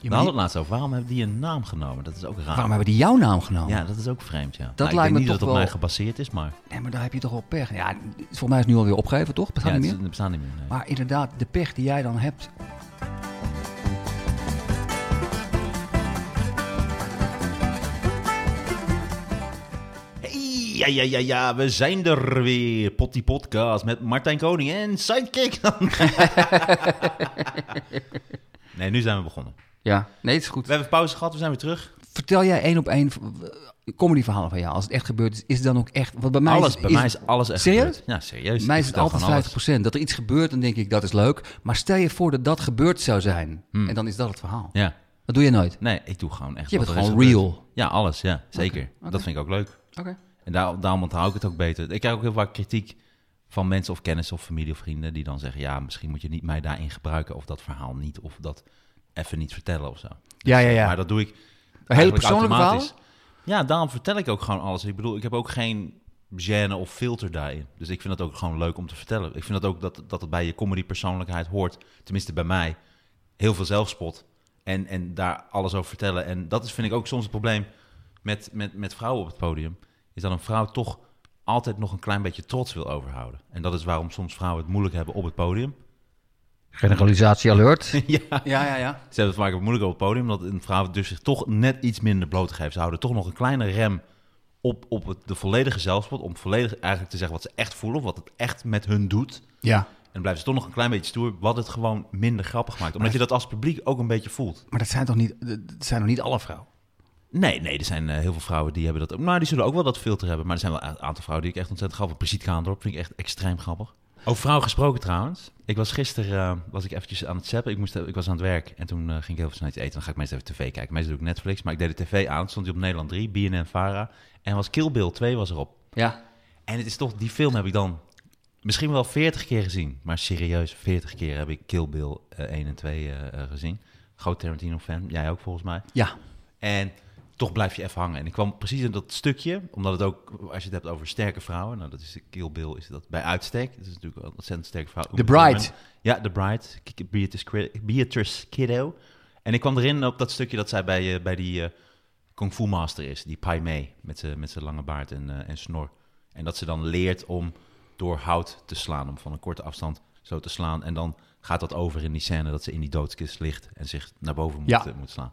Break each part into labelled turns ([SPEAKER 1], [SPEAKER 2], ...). [SPEAKER 1] We hadden het laatst over, waarom hebben die een naam genomen? Dat is ook raar.
[SPEAKER 2] Waarom hebben die jouw naam genomen?
[SPEAKER 1] Ja, dat is ook vreemd, ja. Nou,
[SPEAKER 2] lijkt
[SPEAKER 1] ik denk
[SPEAKER 2] me
[SPEAKER 1] niet dat het
[SPEAKER 2] toch
[SPEAKER 1] op
[SPEAKER 2] wel-
[SPEAKER 1] mij gebaseerd is, maar
[SPEAKER 2] Nee, maar daar heb je toch wel pech. Ja, volgens mij is het nu alweer opgegeven, toch? Bestaat
[SPEAKER 1] ja,
[SPEAKER 2] niet
[SPEAKER 1] het,
[SPEAKER 2] meer?
[SPEAKER 1] het bestaat niet meer. nee.
[SPEAKER 2] Maar inderdaad, de pech die jij dan hebt.
[SPEAKER 1] Hey, ja, ja, ja, ja, we zijn er weer. Potty Podcast met Martijn Koning en Sidekick. nee, nu zijn we begonnen.
[SPEAKER 2] Ja, nee, het is goed.
[SPEAKER 1] We hebben pauze gehad, we zijn weer terug.
[SPEAKER 2] Vertel jij één op één v- w- comedyverhalen van jou. Als het echt gebeurd is, is het dan ook echt... Want bij mij
[SPEAKER 1] alles,
[SPEAKER 2] is,
[SPEAKER 1] bij mij is alles echt
[SPEAKER 2] Serieus?
[SPEAKER 1] gebeurd. Ja, serieus.
[SPEAKER 2] bij mij
[SPEAKER 1] Ik
[SPEAKER 2] is het
[SPEAKER 1] vertel
[SPEAKER 2] altijd
[SPEAKER 1] gewoon
[SPEAKER 2] 50%.
[SPEAKER 1] alles.
[SPEAKER 2] Dat er iets gebeurt, dan denk ik, dat is leuk. Maar stel je voor dat dat gebeurd zou zijn. En dan is dat het verhaal.
[SPEAKER 1] Hmm. Ja,
[SPEAKER 2] Dat doe je nooit.
[SPEAKER 1] nee, ik doe gewoon echt
[SPEAKER 2] Je
[SPEAKER 1] wat
[SPEAKER 2] bent
[SPEAKER 1] er is
[SPEAKER 2] gewoon
[SPEAKER 1] gebeurd.
[SPEAKER 2] real.
[SPEAKER 1] Ja, alles, ja, zeker.
[SPEAKER 2] oké.
[SPEAKER 1] Dat vind ik ook leuk.
[SPEAKER 2] Oké.
[SPEAKER 1] En daar, daarom onthoud ik het ook beter. Ik krijg ook heel vaak kritiek van mensen of kennis of familie of vrienden die dan zeggen, ja, misschien moet je niet mij daarin gebruiken of dat verhaal niet of dat even niet vertellen of zo.
[SPEAKER 2] Ja, ja, ja.
[SPEAKER 1] Maar dat doe ik
[SPEAKER 2] Hele
[SPEAKER 1] eigenlijk
[SPEAKER 2] persoonlijke verhaal?
[SPEAKER 1] automatisch. Ja, daarom vertel ik ook gewoon alles. Ik bedoel, ik heb ook geen gêne of filter daarin. Dus ik vind dat ook gewoon leuk om te vertellen. Ik vind dat ook dat, dat het bij je comedy persoonlijkheid hoort, tenminste bij mij, heel veel zelfspot. En, en daar alles over vertellen. En dat is, vind ik ook soms het probleem met, met, met vrouwen op het podium. Is dat een vrouw toch altijd nog een klein beetje trots wil overhouden. En dat is waarom soms vrouwen het moeilijk hebben op het podium.
[SPEAKER 2] Generalisatie alert.
[SPEAKER 1] ja,
[SPEAKER 2] ja, ja, ja.
[SPEAKER 1] ze hebben het vaak ook moeilijk op het podium, omdat een vrouw dus zich toch net iets minder blootgeeft. Ze houden toch nog een kleine rem op, op het, de volledige zelfspot, om volledig eigenlijk te zeggen wat ze echt voelen, of wat het echt met hun doet.
[SPEAKER 2] Ja.
[SPEAKER 1] En dan blijven ze toch nog een klein beetje stoer, wat het gewoon minder grappig maakt. Omdat je dat als publiek ook een beetje voelt.
[SPEAKER 2] Maar dat zijn toch niet, dat zijn toch niet alle vrouwen?
[SPEAKER 1] Nee, nee, er zijn eh, heel veel vrouwen die hebben dat. ook. Nou, die zullen ook wel dat filter hebben, maar er zijn wel een aantal vrouwen die ik echt ontzettend grappig. Brigitte Kaandorp vind ik echt extreem grappig. Over vrouwen gesproken trouwens. Ik was gisteren eh, was ik eventjes aan het zappen. Ik, moest, eh, ik was aan het werk en toen eh, ging ik heel veel snel iets eten. Dan ga ik meestal even tv kijken. Meestal doe ik Netflix, maar ik deed de tv aan. Stond die op Nederland 3, BNN Vara. En was Kill Bill 2 was erop.
[SPEAKER 2] Ja.
[SPEAKER 1] En het is toch, die film heb ik dan misschien wel 40 keer gezien. Maar serieus, 40 keer heb ik Kill Bill eh, 1 en 2 eh, eh, gezien. Groot Tarantino-fan, jij ook volgens mij.
[SPEAKER 2] Ja.
[SPEAKER 1] En toch blijf je even hangen. En ik kwam precies in dat stukje, omdat het ook, als je het hebt over sterke vrouwen, nou dat is Kill Bill, is dat bij uitstek. Dat is natuurlijk wel een ontzettend sterke vrouw.
[SPEAKER 2] The Bride.
[SPEAKER 1] Ja, The Bride. K- Beatrice, Cri- Beatrice Kiddo. En ik kwam erin op dat stukje dat zij bij, eh, bij die eh, Kung Fu Master is, die Pai Mei, met zijn met zijn lange baard en, eh, en snor. En dat ze dan leert om door hout te slaan, om van een korte afstand zo te slaan. En dan gaat dat over in die scène dat ze in die doodskist ligt en zich naar boven moet,
[SPEAKER 2] Ja.
[SPEAKER 1] eh, moet slaan.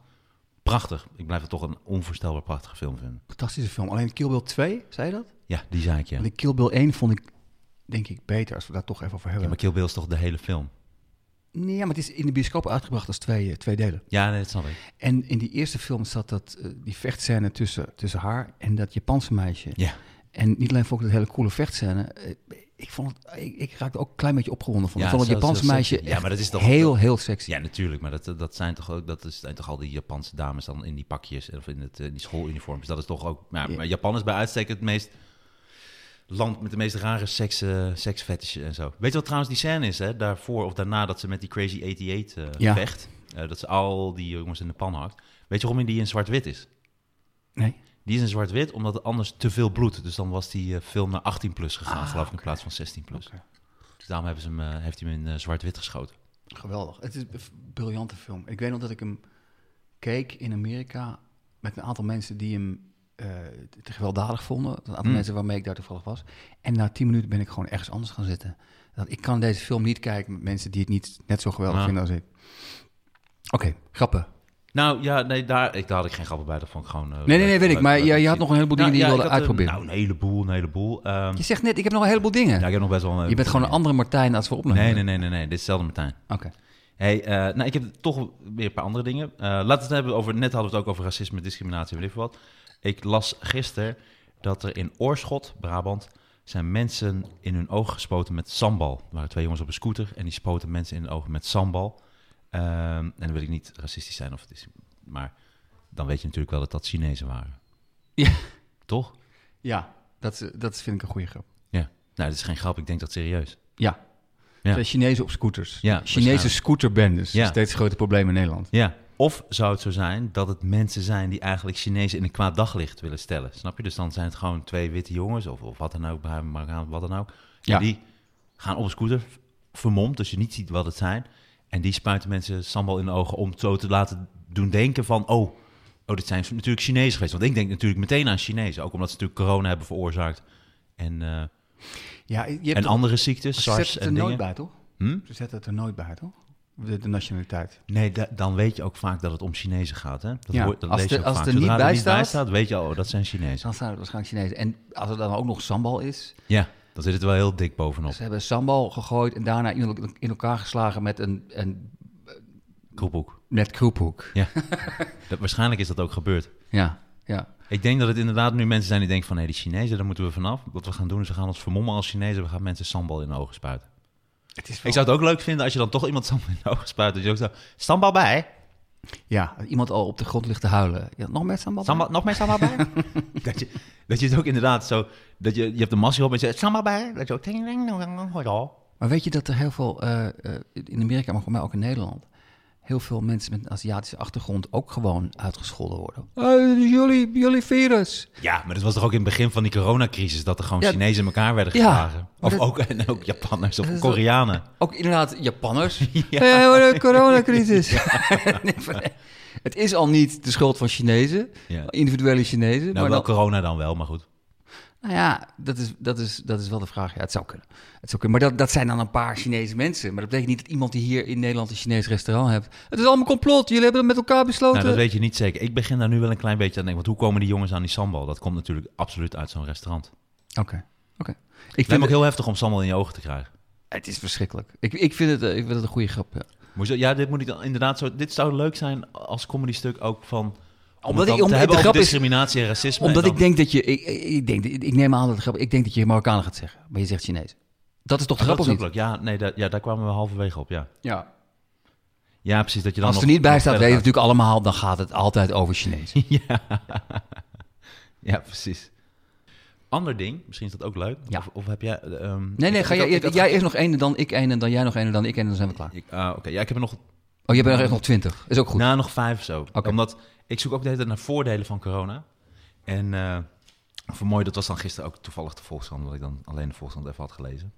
[SPEAKER 1] Prachtig. Ik blijf het toch een onvoorstelbaar prachtige film vinden.
[SPEAKER 2] Fantastische film. Alleen Kill Bill 2, zei je dat?
[SPEAKER 1] Ja, die zei ik ja.
[SPEAKER 2] Want ik Kill Bill 1 vond ik, denk ik, beter als we daar toch even over
[SPEAKER 1] Ja,
[SPEAKER 2] hebben.
[SPEAKER 1] maar Kill Bill is toch de hele film?
[SPEAKER 2] Nee, maar het is in de bioscoop uitgebracht als twee, eh, twee delen.
[SPEAKER 1] Ja, nee, dat snap ik.
[SPEAKER 2] En in die eerste film zat dat, eh, die vechtscène tussen, tussen haar en dat Japanse meisje.
[SPEAKER 1] Ja.
[SPEAKER 2] En niet alleen vond ik dat hele coole vechtscène. eh, ik, vond het, ik, ik raakte ook een klein beetje opgewonden van.
[SPEAKER 1] Ja,
[SPEAKER 2] ik vond het
[SPEAKER 1] zelfs
[SPEAKER 2] Japanse
[SPEAKER 1] heel
[SPEAKER 2] meisje
[SPEAKER 1] sexy. Ja,
[SPEAKER 2] echt
[SPEAKER 1] maar dat is toch-
[SPEAKER 2] heel, heel sexy.
[SPEAKER 1] Ja, natuurlijk. Maar dat, dat, zijn, toch ook, dat is, zijn toch al die Japanse dames dan in die pakjes of in, het, eh, in die schooluniforms. Dat is toch ook... Ja, maar Japan is bij uitstek het meest... Land met de meest rare seks, eh seksfetishen en zo. Weet je wat trouwens die scène is, hè? Daarvoor of daarna dat ze met die Crazy 88 eh
[SPEAKER 2] Ja.
[SPEAKER 1] vecht. Eh, dat ze al die jongens in de pan hakt. Weet je waarom die in zwart-wit is?
[SPEAKER 2] Nee?
[SPEAKER 1] Die is in zwart-wit, omdat het anders te veel bloed. Dus dan was die eh, film naar 18 plus gegaan, geloof ik, in plaats van 16 plus.
[SPEAKER 2] Ah, Oké.
[SPEAKER 1] Dus daarom hebben ze hem, eh, heeft hij hem in eh, zwart-wit geschoten.
[SPEAKER 2] Geweldig. Het is een f- briljante film. Ik weet nog dat ik hem keek in Amerika met een aantal mensen die hem eh, te gewelddadig vonden. Een
[SPEAKER 1] Mm.
[SPEAKER 2] aantal mensen waarmee ik daar toevallig was. En na tien minuten ben ik gewoon ergens anders gaan zitten. Dat, ik kan deze film niet kijken met mensen die het niet net zo geweldig
[SPEAKER 1] Ja.
[SPEAKER 2] vinden als ik. Oké, grappen.
[SPEAKER 1] Nou ja, nee, daar, ik, daar had ik geen grappen bij. Dat vond ik gewoon. eh,
[SPEAKER 2] Nee, nee, nee,
[SPEAKER 1] leuk-
[SPEAKER 2] weet ik.
[SPEAKER 1] leuk-
[SPEAKER 2] Maar
[SPEAKER 1] leuk
[SPEAKER 2] je,
[SPEAKER 1] om
[SPEAKER 2] je
[SPEAKER 1] te
[SPEAKER 2] had
[SPEAKER 1] zien.
[SPEAKER 2] nog een heleboel dingen
[SPEAKER 1] Nou, ja,
[SPEAKER 2] die je
[SPEAKER 1] ik
[SPEAKER 2] wilde
[SPEAKER 1] had, eh,
[SPEAKER 2] uitproberen.
[SPEAKER 1] nou, een heleboel, een heleboel. Ehm,
[SPEAKER 2] je zegt net, ik heb nog een heleboel dingen.
[SPEAKER 1] ja, ik heb nog best wel een.
[SPEAKER 2] je bent gewoon een andere Martijn als we opnemen.
[SPEAKER 1] Nee, nee, nee, nee, nee. Dit is hetzelfde Martijn.
[SPEAKER 2] Oké.
[SPEAKER 1] Hey, eh, nou, ik heb toch weer een paar andere dingen. Eh, laten we het hebben over. Net hadden we het ook over racisme, discriminatie, weet ik veel wat. Ik las gisteren dat er in Oorschot, Brabant, zijn mensen in hun ogen gespoten met sambal. Er waren twee jongens op een scooter en die spoten mensen in de ogen met sambal. Ehm, en dan wil ik niet racistisch zijn of het is. Maar dan weet je natuurlijk wel dat dat Chinezen waren.
[SPEAKER 2] Ja,
[SPEAKER 1] Toch?
[SPEAKER 2] ja dat, is- dat vind ik een goede grap.
[SPEAKER 1] Ja. Nou, dit is geen grap. Ik denk dat serieus.
[SPEAKER 2] Ja.
[SPEAKER 1] Ja.
[SPEAKER 2] Zijn Chinezen op scooters.
[SPEAKER 1] Ja,
[SPEAKER 2] Chinese
[SPEAKER 1] waarschijnlijk.
[SPEAKER 2] scooterbendes.
[SPEAKER 1] Ja.
[SPEAKER 2] Steeds groter probleem in Nederland.
[SPEAKER 1] Ja. Of zou het zo zijn dat het mensen zijn die eigenlijk Chinezen in een kwaad daglicht willen stellen? Snap je? Dus dan zijn het gewoon twee witte jongens of, of wat dan ook, bij Marokkaan, wat dan ook. En
[SPEAKER 2] Ja.
[SPEAKER 1] Die gaan op een scooter vermomd, dus je niet ziet wat het zijn. En die spuiten mensen sambal in de ogen om zo te laten doen denken van... Oh, oh, dit zijn natuurlijk Chinezen geweest. Want ik denk natuurlijk meteen aan Chinezen. Ook omdat ze natuurlijk corona hebben veroorzaakt. En, eh,
[SPEAKER 2] Ja, je hebt
[SPEAKER 1] en
[SPEAKER 2] toch-
[SPEAKER 1] andere ziektes,
[SPEAKER 2] ze zetten
[SPEAKER 1] SARS
[SPEAKER 2] het er
[SPEAKER 1] en
[SPEAKER 2] nooit
[SPEAKER 1] dingen.
[SPEAKER 2] bij, toch?
[SPEAKER 1] Hm?
[SPEAKER 2] Ze zetten het er nooit bij, toch? De, de nationaliteit.
[SPEAKER 1] Nee, da- dan weet je ook vaak dat het om Chinezen gaat. Hè? Dat
[SPEAKER 2] Ja,
[SPEAKER 1] hoor- dat
[SPEAKER 2] als
[SPEAKER 1] lees
[SPEAKER 2] de-
[SPEAKER 1] je ook
[SPEAKER 2] als
[SPEAKER 1] vaak.
[SPEAKER 2] er niet
[SPEAKER 1] Zodra
[SPEAKER 2] bij staat-
[SPEAKER 1] weet je al, oh, dat zijn Chinezen.
[SPEAKER 2] Dan staan het waarschijnlijk Chinezen. En als het dan ook nog sambal is.
[SPEAKER 1] Ja, dan zit het wel heel dik bovenop.
[SPEAKER 2] Ze hebben sambal gegooid en daarna in in elkaar geslagen met een, een
[SPEAKER 1] Kroephoek.
[SPEAKER 2] net kroephoek.
[SPEAKER 1] Dat, waarschijnlijk is dat ook gebeurd.
[SPEAKER 2] Ja, ja.
[SPEAKER 1] Ik denk dat het inderdaad nu mensen zijn die denken van... hé, die Chinezen, daar moeten we vanaf. Wat we gaan doen is we gaan ons vermommen als Chinezen. We gaan mensen sambal in de ogen spuiten.
[SPEAKER 2] Oh. Het is
[SPEAKER 1] Ik zou het ook leuk vinden als je dan toch iemand sambal in de ogen spuit. Dat je ook zo, sambal bij?
[SPEAKER 2] Ja, als iemand al op de grond ligt te huilen. Ja, nog meer sambal?
[SPEAKER 1] Sambal, nog meer sambal bij? dat, je, dat je het ook inderdaad zo... Dat je, je hebt de massie op en je zegt sambal bij. Dat je ook... ding, ding, dong, dong, hoi, al.
[SPEAKER 2] Maar weet je dat er heel veel, eh, eh, in Amerika, maar voor mij ook in Nederland, heel veel mensen met een Aziatische achtergrond ook gewoon uitgescholden worden.
[SPEAKER 1] Oh,
[SPEAKER 2] Eh, jullie, jullie virus.
[SPEAKER 1] Ja, maar dat was toch ook in het begin van die coronacrisis... dat er gewoon
[SPEAKER 2] Ja.
[SPEAKER 1] Chinezen in elkaar werden
[SPEAKER 2] Ja,
[SPEAKER 1] geslagen. of
[SPEAKER 2] maar dat-
[SPEAKER 1] ook, en ook Japanners of
[SPEAKER 2] dat is wel-
[SPEAKER 1] Koreanen. Nou,
[SPEAKER 2] Ook inderdaad Japanners.
[SPEAKER 1] Ja.
[SPEAKER 2] Eh, wat een coronacrisis. Nee, maar Het is al niet de schuld van Chinezen,
[SPEAKER 1] Ja.
[SPEAKER 2] individuele Chinezen.
[SPEAKER 1] Nou,
[SPEAKER 2] maar
[SPEAKER 1] wel
[SPEAKER 2] dan-
[SPEAKER 1] corona dan wel, maar goed.
[SPEAKER 2] Nou ja, dat is, dat, is, dat is wel de vraag. Ja, het zou kunnen. Het zou kunnen. Maar dat, dat zijn dan een paar Chinese mensen. Maar dat betekent niet dat iemand die hier in Nederland een Chinees restaurant heeft. Het is allemaal complot. Jullie hebben het met elkaar besloten.
[SPEAKER 1] Nou, dat weet je niet zeker. Ik begin daar nu wel een klein beetje aan te denken. Want hoe komen die jongens aan die sambal? Dat komt natuurlijk absoluut uit zo'n restaurant. Ik
[SPEAKER 2] Oké. oké. Ik
[SPEAKER 1] vind hem
[SPEAKER 2] vind
[SPEAKER 1] ook
[SPEAKER 2] het,
[SPEAKER 1] heel heftig om sambal in je ogen te krijgen.
[SPEAKER 2] het is verschrikkelijk. Ik, ik, vind het, eh, ik vind het een goede grap. Ja.
[SPEAKER 1] Moet je, ja, dit moet ik dan inderdaad zo. Dit zou leuk zijn als comedy stuk ook van. Om
[SPEAKER 2] Omdat
[SPEAKER 1] het dan
[SPEAKER 2] ik- om-
[SPEAKER 1] te
[SPEAKER 2] de
[SPEAKER 1] hebben
[SPEAKER 2] grap
[SPEAKER 1] over
[SPEAKER 2] is-
[SPEAKER 1] discriminatie en racisme.
[SPEAKER 2] Omdat
[SPEAKER 1] en
[SPEAKER 2] ik
[SPEAKER 1] dan-
[SPEAKER 2] denk dat je. Ik, ik- ik, denk, ik neem aan dat het grap. Ik denk dat je Marokkanen gaat zeggen. Maar je zegt Chinees. Dat is toch
[SPEAKER 1] Ah, dat
[SPEAKER 2] grappig?
[SPEAKER 1] is ook leuk. Ja, nee, daar, ja, daar kwamen we halverwege op. Ja,
[SPEAKER 2] Ja.
[SPEAKER 1] ja precies. Dat je dan
[SPEAKER 2] Als het er
[SPEAKER 1] nog-
[SPEAKER 2] niet bij
[SPEAKER 1] nog
[SPEAKER 2] staat, weet
[SPEAKER 1] verder
[SPEAKER 2] je natuurlijk allemaal. Dan gaat het altijd over Chinees.
[SPEAKER 1] gaat. Ja, precies. Ander ding, misschien is dat ook leuk.
[SPEAKER 2] Ja.
[SPEAKER 1] Of, of heb jij. ehm,
[SPEAKER 2] Nee,
[SPEAKER 1] ik-
[SPEAKER 2] nee.
[SPEAKER 1] ik
[SPEAKER 2] Ga
[SPEAKER 1] had-
[SPEAKER 2] jij,
[SPEAKER 1] ik had-
[SPEAKER 2] jij eerst nog één, dan ik één. En dan jij nog één. En dan ik één. En dan zijn we klaar.
[SPEAKER 1] ik- ah, Oké, ja, ik heb er nog
[SPEAKER 2] Oh, je bent nog echt nog twintig. Is ook goed.
[SPEAKER 1] Nou, nog vijf of zo.
[SPEAKER 2] Oké.
[SPEAKER 1] Omdat ik zoek ook de hele tijd naar voordelen van corona. En eh voor mooi, dat was dan gisteren ook toevallig de Volkskrant, omdat ik dan alleen de Volkskrant even had gelezen.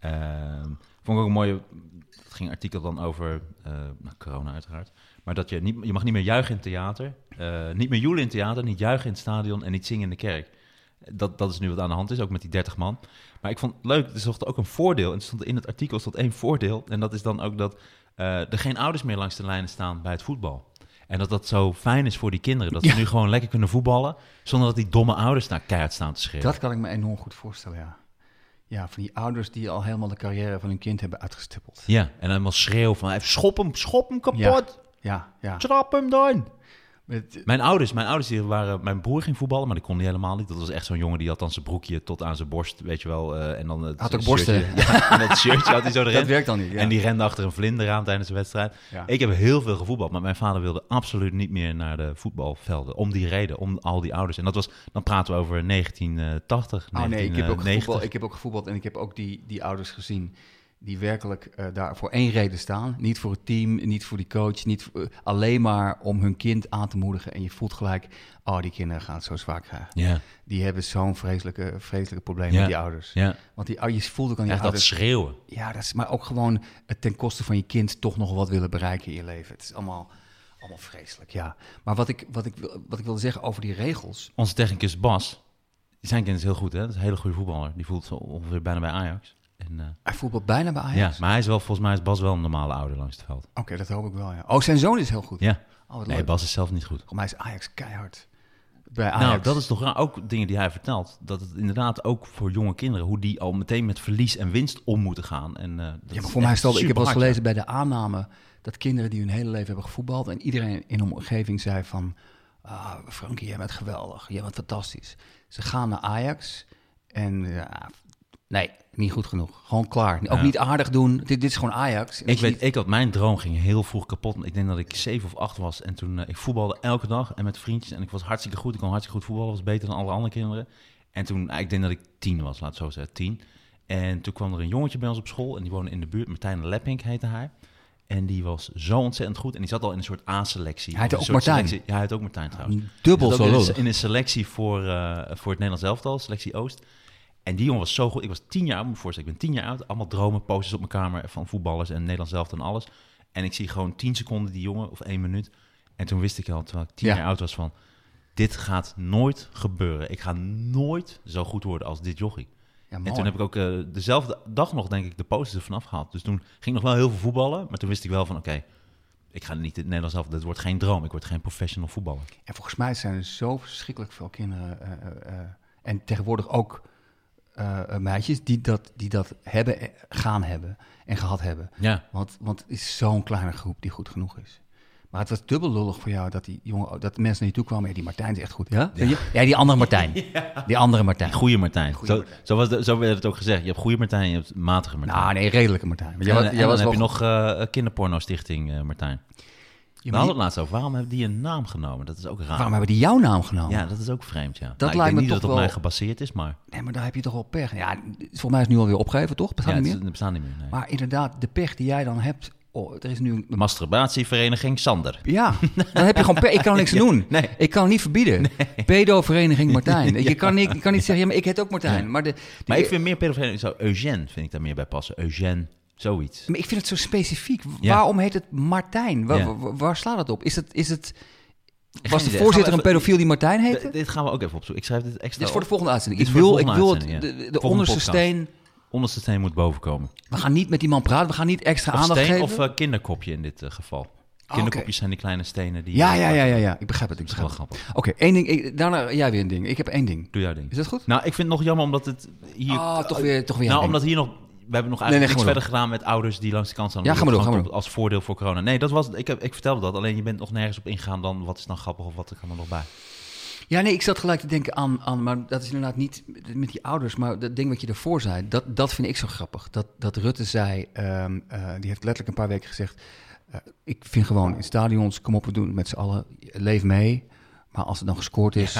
[SPEAKER 1] Ehm, vond ik ook een mooie, het ging een artikel dan over eh, nou, corona uiteraard. Maar dat je, niet, je mag niet meer juichen in het theater, eh, niet meer joelen in het theater, niet juichen in het stadion en niet zingen in de kerk. Dat, dat is nu wat aan de hand is, ook met die 30 man. Maar ik vond het leuk, er stond ook een voordeel. En er stond in het artikel stond één voordeel. En dat is dan ook dat eh, er geen ouders meer langs de lijnen staan bij het voetbal. En dat dat zo fijn is voor die kinderen. Dat
[SPEAKER 2] Ja.
[SPEAKER 1] ze nu gewoon lekker kunnen voetballen. Zonder dat die domme ouders naar keihard staan te schreeuwen.
[SPEAKER 2] Dat kan ik me enorm goed voorstellen, ja. Ja, van die ouders die al helemaal de carrière van hun kind hebben uitgestippeld.
[SPEAKER 1] Ja, en dan helemaal schreeuwen van... "Hey, Schop hem, schop hem kapot,
[SPEAKER 2] Ja, ja.
[SPEAKER 1] trap hem dan.
[SPEAKER 2] Met,
[SPEAKER 1] Mijn ouders, mijn ouders die waren... Mijn broer ging voetballen, maar die kon die helemaal niet. Dat was echt zo'n jongen die had dan zijn broekje tot aan zijn borst, weet je wel. eh, en dan het
[SPEAKER 2] Had ook
[SPEAKER 1] shirtje-
[SPEAKER 2] borsten.
[SPEAKER 1] Ja, en dat shirtje had hij zo erin.
[SPEAKER 2] dat werkt dan niet. Ja.
[SPEAKER 1] En die rende achter een vlinder aan tijdens de wedstrijd.
[SPEAKER 2] Ja.
[SPEAKER 1] Ik heb heel veel gevoetbald, maar mijn vader wilde absoluut niet meer naar de voetbalvelden. Om die reden, om al die ouders. En dat was, dan praten we over 1980,
[SPEAKER 2] oh nee, ik heb, ook
[SPEAKER 1] 1990.
[SPEAKER 2] gevoetbald, ik heb ook gevoetbald en ik heb ook die, die ouders gezien die werkelijk eh, daar voor één reden staan. Niet voor het team, niet voor die coach, niet voor- eh, alleen maar om hun kind aan te moedigen. En je voelt gelijk, oh, die kinderen gaan het zo zwaar krijgen.
[SPEAKER 1] Ja,
[SPEAKER 2] Die hebben zo'n vreselijke, vreselijke probleem
[SPEAKER 1] Ja.
[SPEAKER 2] met die ouders.
[SPEAKER 1] ja.
[SPEAKER 2] Want die, ou- je voelt ook aan die
[SPEAKER 1] Echt dat
[SPEAKER 2] ouders...
[SPEAKER 1] schreeuwen.
[SPEAKER 2] Ja, dat is maar ook gewoon het ten koste van je kind toch nog wat willen bereiken in je leven. Het is allemaal, allemaal vreselijk, ja. Maar wat ik, wat, ik, wil- wat ik wilde zeggen over die regels.
[SPEAKER 1] Onze technicus Bas, zijn kind is heel goed hè. Dat is een hele goede voetballer. Die voelt zo ongeveer bijna bij Ajax. En, eh,
[SPEAKER 2] Hij voetbalt bijna bij Ajax.
[SPEAKER 1] ja, maar hij is wel, volgens mij is Bas wel een normale ouder langs het veld.
[SPEAKER 2] Oké, dat hoop ik wel, ja. Oh, zijn zoon is heel goed.
[SPEAKER 1] Ja,
[SPEAKER 2] Oh, wat leuk.
[SPEAKER 1] nee, Bas is zelf niet goed.
[SPEAKER 2] Volgens mij is Ajax keihard bij Ajax.
[SPEAKER 1] Nou, dat is toch raar. Ook dingen die hij vertelt. Dat het inderdaad ook voor jonge kinderen, hoe die al meteen met verlies en winst om moeten gaan. En, eh, dat
[SPEAKER 2] Ja, maar
[SPEAKER 1] is
[SPEAKER 2] voor mij
[SPEAKER 1] echt
[SPEAKER 2] stelde, ik heb wel eens
[SPEAKER 1] superhard,
[SPEAKER 2] gelezen bij de aanname dat kinderen die hun hele leven hebben gevoetbald en iedereen in hun omgeving zei van, ah, Frankie, jij bent geweldig, jij bent fantastisch. Ze gaan naar Ajax en ja, nee, niet goed genoeg. Gewoon klaar. Ook
[SPEAKER 1] Ja.
[SPEAKER 2] niet aardig doen. Dit, dit is gewoon Ajax.
[SPEAKER 1] ja.
[SPEAKER 2] En
[SPEAKER 1] Ik
[SPEAKER 2] als je
[SPEAKER 1] weet, ik had mijn droom ging heel vroeg kapot. Ik denk dat ik zeven of acht was. En toen, eh, ik voetbalde elke dag en met vriendjes. En ik was hartstikke goed. Ik kon hartstikke goed voetballen. was beter dan alle andere kinderen. En toen, eh, ik denk dat ik tien was, laat het zo zeggen, tien. En toen kwam er een jongetje bij ons op school. En die woonde in de buurt. Martijn Leppink heette hij. En die was zo ontzettend goed. En die zat al in een soort A-selectie.
[SPEAKER 2] Hij heette
[SPEAKER 1] Een
[SPEAKER 2] ook
[SPEAKER 1] soort
[SPEAKER 2] Martijn.
[SPEAKER 1] selectie. Ja, hij heette ook Martijn trouwens.
[SPEAKER 2] niet dubbel
[SPEAKER 1] Dus
[SPEAKER 2] zo
[SPEAKER 1] ook in,
[SPEAKER 2] lullig.
[SPEAKER 1] een- in een selectie voor, eh, voor het Nederlands elftal, selectie Oost. En die jongen was zo goed. Ik was tien jaar oud, moet je voorstellen. Ik ben tien jaar oud. Allemaal dromen, posters op mijn kamer van voetballers en Nederlands elftal en alles. En ik zie gewoon tien seconden die jongen, of één minuut. En toen wist ik al, terwijl ik tien
[SPEAKER 2] Ja.
[SPEAKER 1] jaar oud was, van... Dit gaat nooit gebeuren. Ik ga nooit zo goed worden als dit jochie.
[SPEAKER 2] Ja,
[SPEAKER 1] En toen heb ik ook eh, dezelfde dag nog, denk ik, de posters ervan afgehaald. Dus toen ging ik nog wel heel veel voetballen. Maar toen wist ik wel van, oké, ik ga niet het Nederlands zelf. Dat wordt geen droom. Ik word geen professional voetballer.
[SPEAKER 2] En volgens mij zijn er zo verschrikkelijk veel kinderen eh, eh, eh, en tegenwoordig ook eh, eh, meisjes die dat, die dat hebben, eh, gaan hebben en gehad hebben.
[SPEAKER 1] Ja.
[SPEAKER 2] Want, want het is zo'n kleine groep die goed genoeg is. Maar het was dubbel lullig voor jou dat die jongen, dat de mensen naar je toe kwamen. Ja, die Martijn is echt goed. Ja, ja. die andere Martijn. Die andere Martijn.
[SPEAKER 1] Goeie Martijn.
[SPEAKER 2] Goeie
[SPEAKER 1] zo,
[SPEAKER 2] Martijn.
[SPEAKER 1] Zo, was de- zo werd het ook gezegd. Je hebt goede Martijn en je hebt matige Martijn.
[SPEAKER 2] Nou, nee, redelijke Martijn. Maar jij
[SPEAKER 1] en,
[SPEAKER 2] was-
[SPEAKER 1] en
[SPEAKER 2] jij
[SPEAKER 1] dan
[SPEAKER 2] was
[SPEAKER 1] heb
[SPEAKER 2] wel
[SPEAKER 1] je nog eh kinderporno-stichting, eh, Martijn.
[SPEAKER 2] Ja,
[SPEAKER 1] We
[SPEAKER 2] maar die-
[SPEAKER 1] hadden het laatst over. Waarom hebben die een naam genomen? Dat is ook raar.
[SPEAKER 2] waarom hebben die jouw naam genomen?
[SPEAKER 1] Ja, dat is ook vreemd, ja. Nou,
[SPEAKER 2] lijkt
[SPEAKER 1] ik denk
[SPEAKER 2] me
[SPEAKER 1] niet dat het
[SPEAKER 2] toch
[SPEAKER 1] op mij
[SPEAKER 2] wel-
[SPEAKER 1] gebaseerd is, maar
[SPEAKER 2] Nee, maar daar heb je toch wel pech. Ja, volgens mij is het nu alweer opgegeven, toch? Bestaat
[SPEAKER 1] ja,
[SPEAKER 2] niet
[SPEAKER 1] het,
[SPEAKER 2] meer?
[SPEAKER 1] het bestaat niet meer. nee.
[SPEAKER 2] Maar inderdaad, de pech die jij dan hebt. Oh, er is nu een
[SPEAKER 1] Masturbatievereniging Sander.
[SPEAKER 2] Ja, dan heb je gewoon... pe- Ik kan niks aan doen.
[SPEAKER 1] nee.
[SPEAKER 2] Ik kan niet verbieden. Pedovereniging Martijn. Je kan niet, je kan niet zeggen, ja, maar ik heet ook Martijn. Maar, de,
[SPEAKER 1] Maar
[SPEAKER 2] de-
[SPEAKER 1] ik vind meer pedofilie, zo Eugène vind ik daar meer bij passen. Eugène, zoiets.
[SPEAKER 2] maar ik vind het zo specifiek. W-
[SPEAKER 1] Ja.
[SPEAKER 2] Waarom heet het Martijn? Waar,
[SPEAKER 1] Ja.
[SPEAKER 2] waar- waar slaat het op? Is het, is het,
[SPEAKER 1] idee.
[SPEAKER 2] was de
[SPEAKER 1] Gaan we
[SPEAKER 2] voorzitter een
[SPEAKER 1] even-
[SPEAKER 2] pedofiel die Martijn
[SPEAKER 1] D-
[SPEAKER 2] heette?
[SPEAKER 1] dit gaan we ook even opzoeken. Ik schrijf dit extra
[SPEAKER 2] Dit is voor de
[SPEAKER 1] op.
[SPEAKER 2] volgende uitzending.
[SPEAKER 1] Dit
[SPEAKER 2] Ik
[SPEAKER 1] is voor
[SPEAKER 2] wil,
[SPEAKER 1] de
[SPEAKER 2] ik wil
[SPEAKER 1] volgende
[SPEAKER 2] het, de,
[SPEAKER 1] uitzending, ja.
[SPEAKER 2] de- de
[SPEAKER 1] Volgende
[SPEAKER 2] onderste
[SPEAKER 1] podcast.
[SPEAKER 2] steen...
[SPEAKER 1] Onderste steen moet bovenkomen.
[SPEAKER 2] We gaan niet met die man praten. We gaan niet extra
[SPEAKER 1] Of
[SPEAKER 2] aandacht
[SPEAKER 1] steen
[SPEAKER 2] geven. Ah,
[SPEAKER 1] of eh, kinderkopje in dit eh, geval. Kinderkopjes zijn die kleine stenen die...
[SPEAKER 2] ja,
[SPEAKER 1] eh,
[SPEAKER 2] ja, ja, ja, ja. Ik begrijp het. Ik
[SPEAKER 1] Dat is wel
[SPEAKER 2] begrijp het.
[SPEAKER 1] grappig.
[SPEAKER 2] Oké, één ding. Ik- daarna jij weer een ding. Ik heb één ding.
[SPEAKER 1] Doe jouw ding.
[SPEAKER 2] Is dat goed?
[SPEAKER 1] Nou, ik vind het nog jammer omdat het hier...
[SPEAKER 2] Ah, toch weer, toch weer
[SPEAKER 1] nou,
[SPEAKER 2] een
[SPEAKER 1] omdat
[SPEAKER 2] ding.
[SPEAKER 1] hier nog... We hebben nog
[SPEAKER 2] nee,
[SPEAKER 1] eigenlijk
[SPEAKER 2] ga maar
[SPEAKER 1] niks verder gedaan met ouders die langs de kant staan.
[SPEAKER 2] Ja,
[SPEAKER 1] Omdat
[SPEAKER 2] ga maar
[SPEAKER 1] het
[SPEAKER 2] door,
[SPEAKER 1] gewoon Als voordeel voor corona. Nee, dat was, ik, heb, ik vertelde dat. Alleen je bent nog nergens op ingegaan dan wat is dan grappig of wat kan er nog bij.
[SPEAKER 2] Ja, nee, ik zat gelijk te denken aan, aan maar dat is inderdaad niet met die ouders, maar dat ding wat je daarvoor zei, dat, dat vind ik zo grappig. Dat, dat Rutte zei, ehm, eh, die heeft letterlijk een paar weken gezegd, eh, ik vind gewoon in stadions, kom op, we doen het met z'n allen, leef mee. Maar als het dan gescoord is,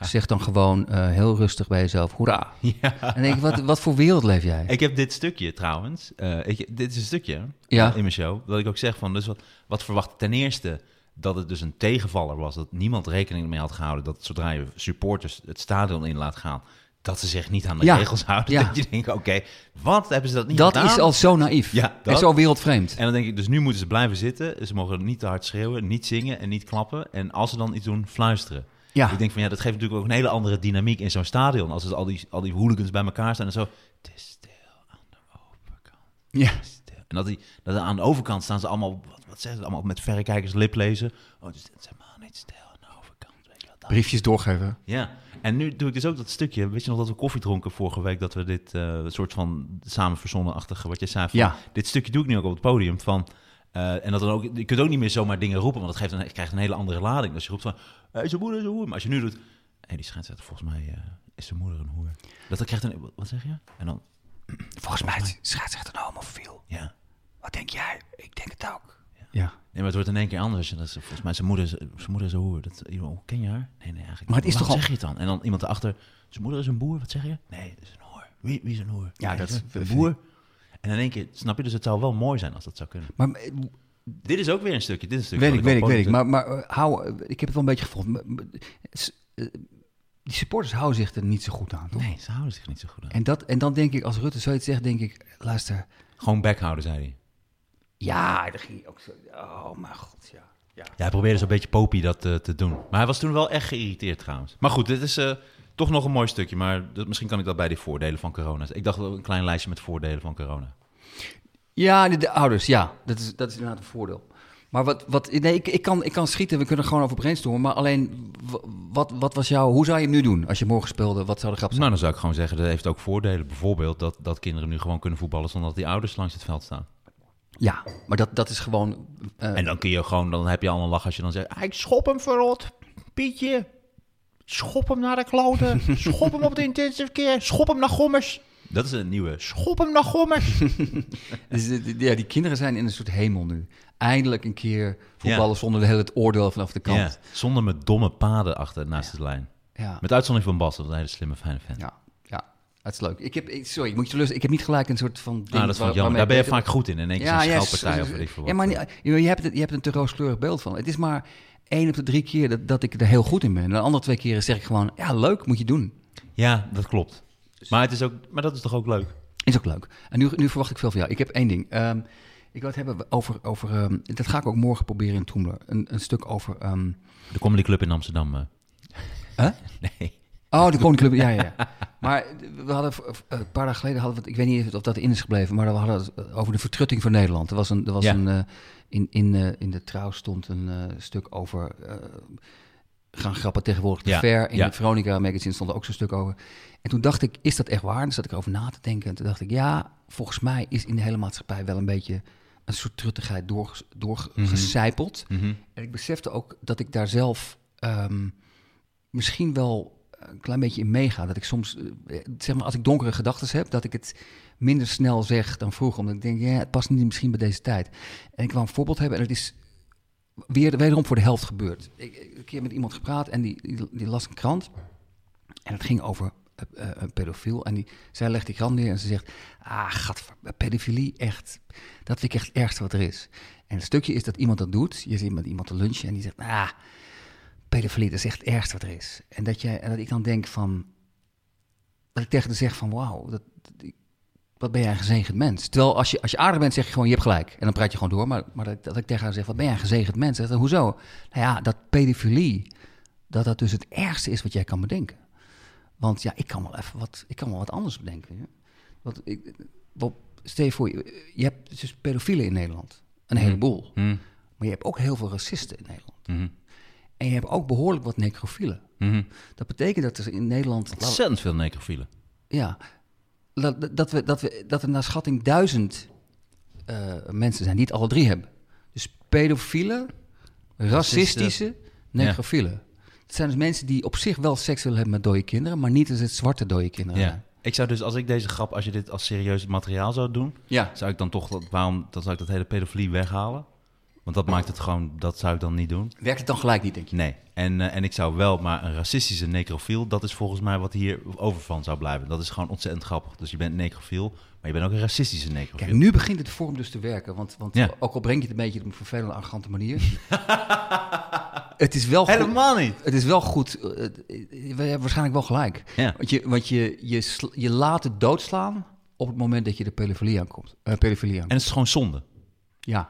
[SPEAKER 2] zeg dan gewoon eh, heel rustig bij jezelf, hoera. En dan denk ik, wat, wat voor wereld leef jij?
[SPEAKER 1] Ik heb dit stukje trouwens. eh, ik, dit is een stukje eh,
[SPEAKER 2] Ja.
[SPEAKER 1] in mijn show. Dat ik ook zeg van, dus wat, wat verwacht ten eerste dat het dus een tegenvaller was. Dat niemand rekening mee had gehouden dat zodra je supporters het stadion in laat gaan, dat ze zich niet aan de
[SPEAKER 2] Ja.
[SPEAKER 1] regels houden.
[SPEAKER 2] Ja.
[SPEAKER 1] Dat je denkt, oké, wat hebben ze dat niet
[SPEAKER 2] dat
[SPEAKER 1] gedaan?
[SPEAKER 2] is al zo naïef
[SPEAKER 1] Ja,
[SPEAKER 2] en
[SPEAKER 1] dat.
[SPEAKER 2] zo wereldvreemd.
[SPEAKER 1] En dan denk ik, dus nu moeten ze blijven zitten. Ze mogen niet te hard schreeuwen, niet zingen en niet klappen. En als ze dan iets doen, fluisteren.
[SPEAKER 2] Ja.
[SPEAKER 1] Ik denk van ja, dat geeft natuurlijk ook een hele andere dynamiek in zo'n stadion. Als het al die, al die hooligans bij elkaar staan en zo. Het is stil aan de overkant.
[SPEAKER 2] Ja.
[SPEAKER 1] het is stil. En dat, die, dat aan de overkant staan ze allemaal, wat, wat zeggen ze allemaal, met verrekijkers liplezen. Oh, het is het is helemaal niet stil aan de overkant. Weet je wat, dat-
[SPEAKER 2] Briefjes doorgeven.
[SPEAKER 1] ja, en nu doe ik dus ook dat stukje. Weet je nog dat we koffie dronken vorige week? Dat we dit eh, soort van samen verzonnen-achtige, wat je zei. Van,
[SPEAKER 2] Ja.
[SPEAKER 1] Dit stukje doe ik nu ook op het podium. Van, eh, en dat dan ook, je kunt ook niet meer zomaar dingen roepen, want dat geeft een, krijgt een hele andere lading. Als je roept van, hey, zijn moeder is een hoer. Maar als je nu doet, hé, hey, die scheidsrechter, volgens mij eh, is zijn moeder een hoer. Dat, dat krijgt een, wat zeg je? En dan,
[SPEAKER 2] Volgens mij is scheidsrechter een homofiel.
[SPEAKER 1] ja.
[SPEAKER 2] Wat denk jij? Ik denk het ook. ja.
[SPEAKER 1] Nee, maar het wordt in één keer anders. Als je, dat is, volgens mij, zijn moeder is, zijn moeder is een hoer. Dat, hoe ken je haar? Nee, nee, eigenlijk
[SPEAKER 2] Maar het
[SPEAKER 1] niet.
[SPEAKER 2] is
[SPEAKER 1] Wat
[SPEAKER 2] toch al-
[SPEAKER 1] zeg je het dan? En dan iemand erachter, zijn moeder is een boer. Wat zeg je? Nee, het is een hoer. Wie, wie is een hoer?
[SPEAKER 2] Ja,
[SPEAKER 1] Nee,
[SPEAKER 2] dat
[SPEAKER 1] het
[SPEAKER 2] vind
[SPEAKER 1] een boer. En in één keer, snap je? Dus het zou wel mooi zijn als dat zou kunnen.
[SPEAKER 2] Maar eh,
[SPEAKER 1] Dit is ook weer een stukje. Dit is een stukje
[SPEAKER 2] Weet ik,
[SPEAKER 1] wat
[SPEAKER 2] weet ik,
[SPEAKER 1] op
[SPEAKER 2] weet ik.
[SPEAKER 1] podium
[SPEAKER 2] Maar, maar eh, hou, eh, ik heb het wel een beetje gevoeld. Maar- maar, s- eh, Die supporters houden zich er niet zo goed aan, toch?
[SPEAKER 1] doe. Nee, ze houden zich niet zo goed aan.
[SPEAKER 2] En, dat, en dan denk ik, als Rutte zoiets zegt, denk ik, luister.
[SPEAKER 1] Gewoon bek houden, zei hij.
[SPEAKER 2] Ja, daar ging hij ook zo. Oh, mijn god, ja. ja.
[SPEAKER 1] Ja, hij probeerde zo'n beetje popie dat eh, te doen. Maar hij was toen wel echt geïrriteerd trouwens. Maar goed, dit is eh, toch nog een mooi stukje. Maar dat, misschien kan ik dat bij die voordelen van corona. Ik dacht wel een klein lijstje met voordelen van corona.
[SPEAKER 2] Ja, de, de ouders, ja. Dat is, dat is inderdaad een voordeel. Maar wat, wat nee, ik, ik, kan, ik kan schieten, we kunnen er gewoon over brainstormen. Maar alleen, w- wat, wat was jouw, hoe zou je het nu doen als je morgen speelde? Wat zou de grap zijn?
[SPEAKER 1] Nou, dan zou ik gewoon zeggen, dat heeft ook voordelen. Bijvoorbeeld dat, dat kinderen nu gewoon kunnen voetballen zonder dat die ouders langs het veld staan.
[SPEAKER 2] Ja, maar dat, dat is gewoon. eh,
[SPEAKER 1] En dan kun je gewoon, dan heb je al een lach als je dan zegt, "Ah, ik schop hem verrot, Pietje. Schop hem naar de kloten. Schop hem op de intensive keer. Schop hem naar Gommers. Dat is een nieuwe. Schop hem naar Gommers.
[SPEAKER 2] Dus, eh, die- ja, die kinderen zijn in een soort hemel nu. Eindelijk een keer voetballen zonder de hele het oordeel vanaf de
[SPEAKER 1] Ja,
[SPEAKER 2] kant.
[SPEAKER 1] zonder met domme paden achter naast de lijn.
[SPEAKER 2] Ja, ja.
[SPEAKER 1] Met uitzondering van Bas, dat is een hele slimme, fijne fan.
[SPEAKER 2] ja, Het is leuk. Ik heb, ik- sorry, ik moet je teleurstellen. Ik heb niet gelijk een soort van... Ding
[SPEAKER 1] nou, dat vond ik jammer. Daar ben je vaak goed in. En denk je zo'n schelpartij of weet ik veel
[SPEAKER 2] Ja,
[SPEAKER 1] wat.
[SPEAKER 2] maar niet- je, je hebt het, je hebt een te rooskleurig beeld van. Het is maar één op de drie keer dat, dat ik er heel goed in ben. En de andere twee keren zeg ik gewoon, ja, leuk, moet je doen.
[SPEAKER 1] Ja, dat klopt.
[SPEAKER 2] Dus-
[SPEAKER 1] Maar, het is ook, maar dat is toch ook leuk?
[SPEAKER 2] Is ook leuk. En nu, nu verwacht ik veel van jou. Ik heb één ding. Ehm, Ik wil het hebben over, over ehm, dat ga ik ook morgen proberen in Toemler. Een, een stuk over, ehm,
[SPEAKER 1] De Comedy Club in Amsterdam. eh.
[SPEAKER 2] Hè?
[SPEAKER 1] Nee.
[SPEAKER 2] oh, de Koninklijke, ja, ja, ja. Maar we hadden, v- v- een paar dagen geleden hadden we, het- ik weet niet of dat in is gebleven, maar we hadden het eh, over de vertrutting van Nederland. Er was een, er was
[SPEAKER 1] Ja.
[SPEAKER 2] een eh, in, in, eh, in de trouw stond een eh, stuk over, eh, gaan grappen tegenwoordig te
[SPEAKER 1] Ja,
[SPEAKER 2] ver. In
[SPEAKER 1] ja.
[SPEAKER 2] de Veronica magazine stond er ook zo'n stuk over. En toen dacht ik, is dat echt waar? En toen zat ik erover na te denken. En toen dacht ik, ja, volgens mij is in de hele maatschappij wel een beetje een soort truttigheid doorges- doorgecijpeld.
[SPEAKER 1] Mhm.
[SPEAKER 2] En ik besefte ook dat ik daar zelf ehm, misschien wel een klein beetje in meega. Dat ik soms, eh, zeg maar, als ik donkere gedachten heb, dat ik het minder snel zeg dan vroeger. Omdat ik denk, ja, het past niet misschien bij deze tijd. En ik wil een voorbeeld hebben en het is weer, wederom voor de helft gebeurd. Ik, ik- een keer met iemand gepraat en die, die, die las een krant. En het ging over eh, eh, een pedofiel. En die, zij legt die krant neer en ze zegt... Ah, gadver, pedofilie, echt. Dat vind ik echt het ergste wat er is. En het stukje is dat iemand dat doet. Je zit met iemand te lunchen en die zegt... Ah, pedofilie, dat is echt het ergste wat er is. En dat, jij, en dat ik dan denk van... Dat ik tegen haar zeg van... Wauw, dat, dat- ik- wat ben jij een gezegend mens. Terwijl als je, als je aardig bent, zeg je gewoon... Je hebt gelijk. En dan praat je gewoon door. Maar, maar dat, dat ik tegen haar zeg... Wat ben jij een gezegend mens. Zegt, ze, Hoezo? Nou ja, dat pedofilie... Dat dat dus het ergste is wat jij kan bedenken. Want ja, ik kan wel even wat, ik kan wel wat anders bedenken. hè. Want ik, Bob, stel je voor, je je hebt dus pedofielen in Nederland. Een heleboel.
[SPEAKER 1] Mhm.
[SPEAKER 2] Maar je hebt ook heel veel racisten in Nederland.
[SPEAKER 1] Mhm.
[SPEAKER 2] En je hebt ook behoorlijk wat necrofielen.
[SPEAKER 1] Mhm.
[SPEAKER 2] Dat betekent dat er in Nederland...
[SPEAKER 1] Ontzettend veel necrofielen.
[SPEAKER 2] Ja, dat, dat, we, dat, we, dat er naar schatting duizend eh, mensen zijn die het alle drie hebben. Dus pedofielen, racistische, necrofielen. Het zijn dus mensen die op zich wel seks willen hebben met dode kinderen... maar niet als het zwarte dode kinderen
[SPEAKER 1] Ja.
[SPEAKER 2] zijn.
[SPEAKER 1] Ik zou dus, als ik deze grap, als je dit als serieus materiaal zou doen,
[SPEAKER 2] Ja.
[SPEAKER 1] zou ik dan toch, dat, waarom, dan zou ik dat hele pedofilie weghalen. Want dat maakt het gewoon, dat zou ik dan niet doen.
[SPEAKER 2] Werkt het dan gelijk niet, denk je?
[SPEAKER 1] Nee. En, eh, en ik zou wel, maar een racistische necrofiel, dat is volgens mij wat hier over van zou blijven. Dat is gewoon ontzettend grappig. Dus je bent necrofiel, maar je bent ook een racistische necrofiel.
[SPEAKER 2] Kijk, nu begint het vorm dus te werken. Want, want
[SPEAKER 1] Ja.
[SPEAKER 2] ook al breng je het een beetje op een vervelende, arrogante manier. het is wel goed.
[SPEAKER 1] Helemaal niet.
[SPEAKER 2] Het is wel goed. eh, eh, We hebben waarschijnlijk wel gelijk.
[SPEAKER 1] Ja.
[SPEAKER 2] Want, je, want je, je, sl- je laat het doodslaan op het moment dat je de pedofilie aankomt. Eh, pedofilie aan.
[SPEAKER 1] En het is gewoon zonde.
[SPEAKER 2] Ja.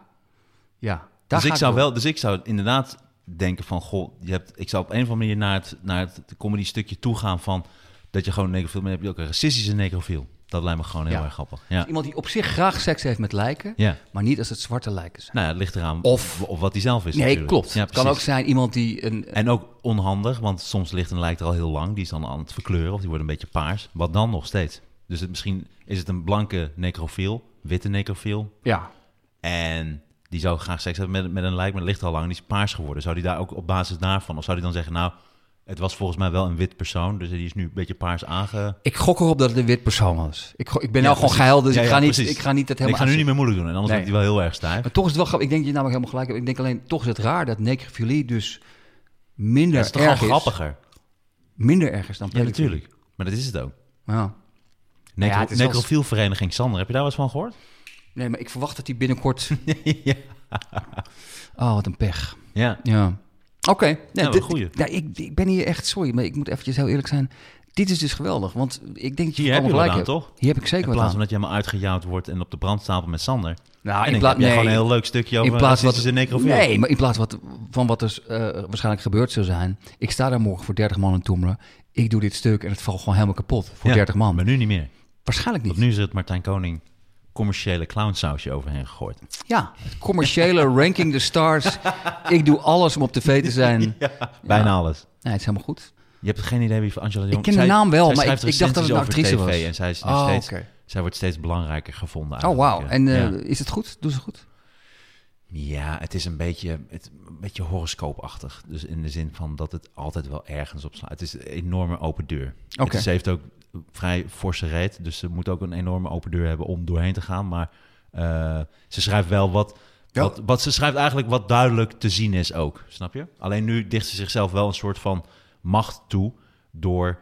[SPEAKER 2] Ja. Daar
[SPEAKER 1] Dus
[SPEAKER 2] ga
[SPEAKER 1] ik, zou
[SPEAKER 2] door.
[SPEAKER 1] wel, dus ik zou inderdaad denken van, goh, je hebt, ik zou op een of andere manier naar het, naar het comedy stukje toe gaan van dat je gewoon een necrofiel bent, heb je ook een racistische necrofiel. Dat lijkt me gewoon heel
[SPEAKER 2] Ja.
[SPEAKER 1] erg grappig. Ja.
[SPEAKER 2] Iemand die op zich graag seks heeft met lijken,
[SPEAKER 1] ja.
[SPEAKER 2] maar niet als het zwarte lijken zijn.
[SPEAKER 1] Nou ja, het ligt eraan
[SPEAKER 2] Of-
[SPEAKER 1] of, of wat hij zelf is.
[SPEAKER 2] nee,
[SPEAKER 1] natuurlijk.
[SPEAKER 2] klopt.
[SPEAKER 1] Ja,
[SPEAKER 2] het kan ook
[SPEAKER 1] precies.
[SPEAKER 2] zijn iemand die een...
[SPEAKER 1] En ook onhandig, want soms ligt een lijkt er al heel lang. Die is dan aan het verkleuren of die wordt een beetje paars. Wat dan nog steeds? Dus het, misschien is het een blanke necrofiel, witte necrofiel.
[SPEAKER 2] Ja.
[SPEAKER 1] En die zou graag seks hebben met, met een lijk, maar het ligt al lang. en Die is paars geworden. Zou die daar ook op basis daarvan? Of zou die dan zeggen, nou, het was volgens mij wel een wit persoon. Dus die is nu een beetje paars aange...
[SPEAKER 2] Ik gok erop dat het een wit persoon was. Ik, go- ik ben
[SPEAKER 1] Ja,
[SPEAKER 2] nou gewoon
[SPEAKER 1] precies.
[SPEAKER 2] geil, dus
[SPEAKER 1] Ja,
[SPEAKER 2] ik,
[SPEAKER 1] ja,
[SPEAKER 2] ga niet,
[SPEAKER 1] precies.
[SPEAKER 2] ik ga niet dat
[SPEAKER 1] Nee, ik
[SPEAKER 2] helemaal
[SPEAKER 1] ga nu
[SPEAKER 2] aan-
[SPEAKER 1] niet meer moeilijk doen. En anders
[SPEAKER 2] Nee.
[SPEAKER 1] wordt hij wel heel erg stijf.
[SPEAKER 2] Maar toch is het wel grappig. Ik denk dat je namelijk helemaal gelijk hebt. Ik denk alleen, toch is het raar dat necrofilie dus minder
[SPEAKER 1] dat is toch wel
[SPEAKER 2] erg
[SPEAKER 1] grappiger?
[SPEAKER 2] Minder erg is dan
[SPEAKER 1] Ja,
[SPEAKER 2] pedofilie.
[SPEAKER 1] natuurlijk. Maar dat is het ook.
[SPEAKER 2] Ja.
[SPEAKER 1] Necro,
[SPEAKER 2] Ja, het is wel-
[SPEAKER 1] necrofielvereniging Sander, heb je daar wat van gehoord?
[SPEAKER 2] Nee, maar ik verwacht dat die binnenkort...
[SPEAKER 1] ja.
[SPEAKER 2] Oh, wat een pech.
[SPEAKER 1] ja.
[SPEAKER 2] Ja. Oké.
[SPEAKER 1] Ja, wel
[SPEAKER 2] dit-
[SPEAKER 1] een goeie.
[SPEAKER 2] Ja, ik, ik ben hier echt, sorry, maar ik moet eventjes heel eerlijk zijn. Dit is dus geweldig, want ik denk dat je
[SPEAKER 1] Hier heb
[SPEAKER 2] allemaal
[SPEAKER 1] je
[SPEAKER 2] gelijk
[SPEAKER 1] wat aan,
[SPEAKER 2] hebt.
[SPEAKER 1] toch?
[SPEAKER 2] Hier heb ik
[SPEAKER 1] In
[SPEAKER 2] zeker wat
[SPEAKER 1] plaats
[SPEAKER 2] aan.
[SPEAKER 1] van dat je helemaal uitgejouwd wordt en op de brandstapel met Sander.
[SPEAKER 2] Nou,
[SPEAKER 1] en
[SPEAKER 2] in
[SPEAKER 1] ik
[SPEAKER 2] pla-
[SPEAKER 1] heb jij
[SPEAKER 2] nee.
[SPEAKER 1] gewoon een heel leuk stukje over
[SPEAKER 2] in plaats van
[SPEAKER 1] racistische necrofiel.
[SPEAKER 2] Nee, maar in plaats wat, van wat er eh, waarschijnlijk gebeurd zou zijn. Ik sta daar morgen voor 30 man in Toemelen. Ik doe dit stuk en het valt gewoon helemaal kapot voor
[SPEAKER 1] Ja,
[SPEAKER 2] 30 man.
[SPEAKER 1] Oh, Maar nu niet meer.
[SPEAKER 2] Waarschijnlijk niet.
[SPEAKER 1] Want nu is het Martijn Koning commerciële clownsausje overheen gegooid.
[SPEAKER 2] Ja, het commerciële ranking the stars. Ik doe alles om op tv te zijn. Nee,
[SPEAKER 1] Bijna alles.
[SPEAKER 2] het is helemaal goed.
[SPEAKER 1] Je hebt geen idee wie van Angela de Jong...
[SPEAKER 2] ken de
[SPEAKER 1] Zij-
[SPEAKER 2] naam wel,
[SPEAKER 1] zij
[SPEAKER 2] maar ik-
[SPEAKER 1] schrijft
[SPEAKER 2] ik dacht dat het een
[SPEAKER 1] recensies
[SPEAKER 2] actrice
[SPEAKER 1] over
[SPEAKER 2] was.
[SPEAKER 1] TV en zij, is nu
[SPEAKER 2] Oh,
[SPEAKER 1] steeds,
[SPEAKER 2] oké.
[SPEAKER 1] zij wordt steeds belangrijker gevonden.
[SPEAKER 2] Oh,
[SPEAKER 1] eigenlijk,
[SPEAKER 2] wauw.
[SPEAKER 1] ja.
[SPEAKER 2] En eh,
[SPEAKER 1] ja.
[SPEAKER 2] is het goed? Doen ze goed?
[SPEAKER 1] Ja, het is een beetje, het, een beetje horoscoopachtig. Dus in de zin van dat het altijd wel ergens op slaat. Het is een enorme open deur.
[SPEAKER 2] Oké.
[SPEAKER 1] Het- Dus eh, ze heeft ook vrij forse reet, dus ze moet ook een enorme open deur hebben om doorheen te gaan. Maar eh, ze schrijft wel wat,
[SPEAKER 2] Ja.
[SPEAKER 1] wat, wat... Ze schrijft eigenlijk wat duidelijk te zien is ook, snap je? Alleen nu dicht ze zichzelf wel een soort van macht toe door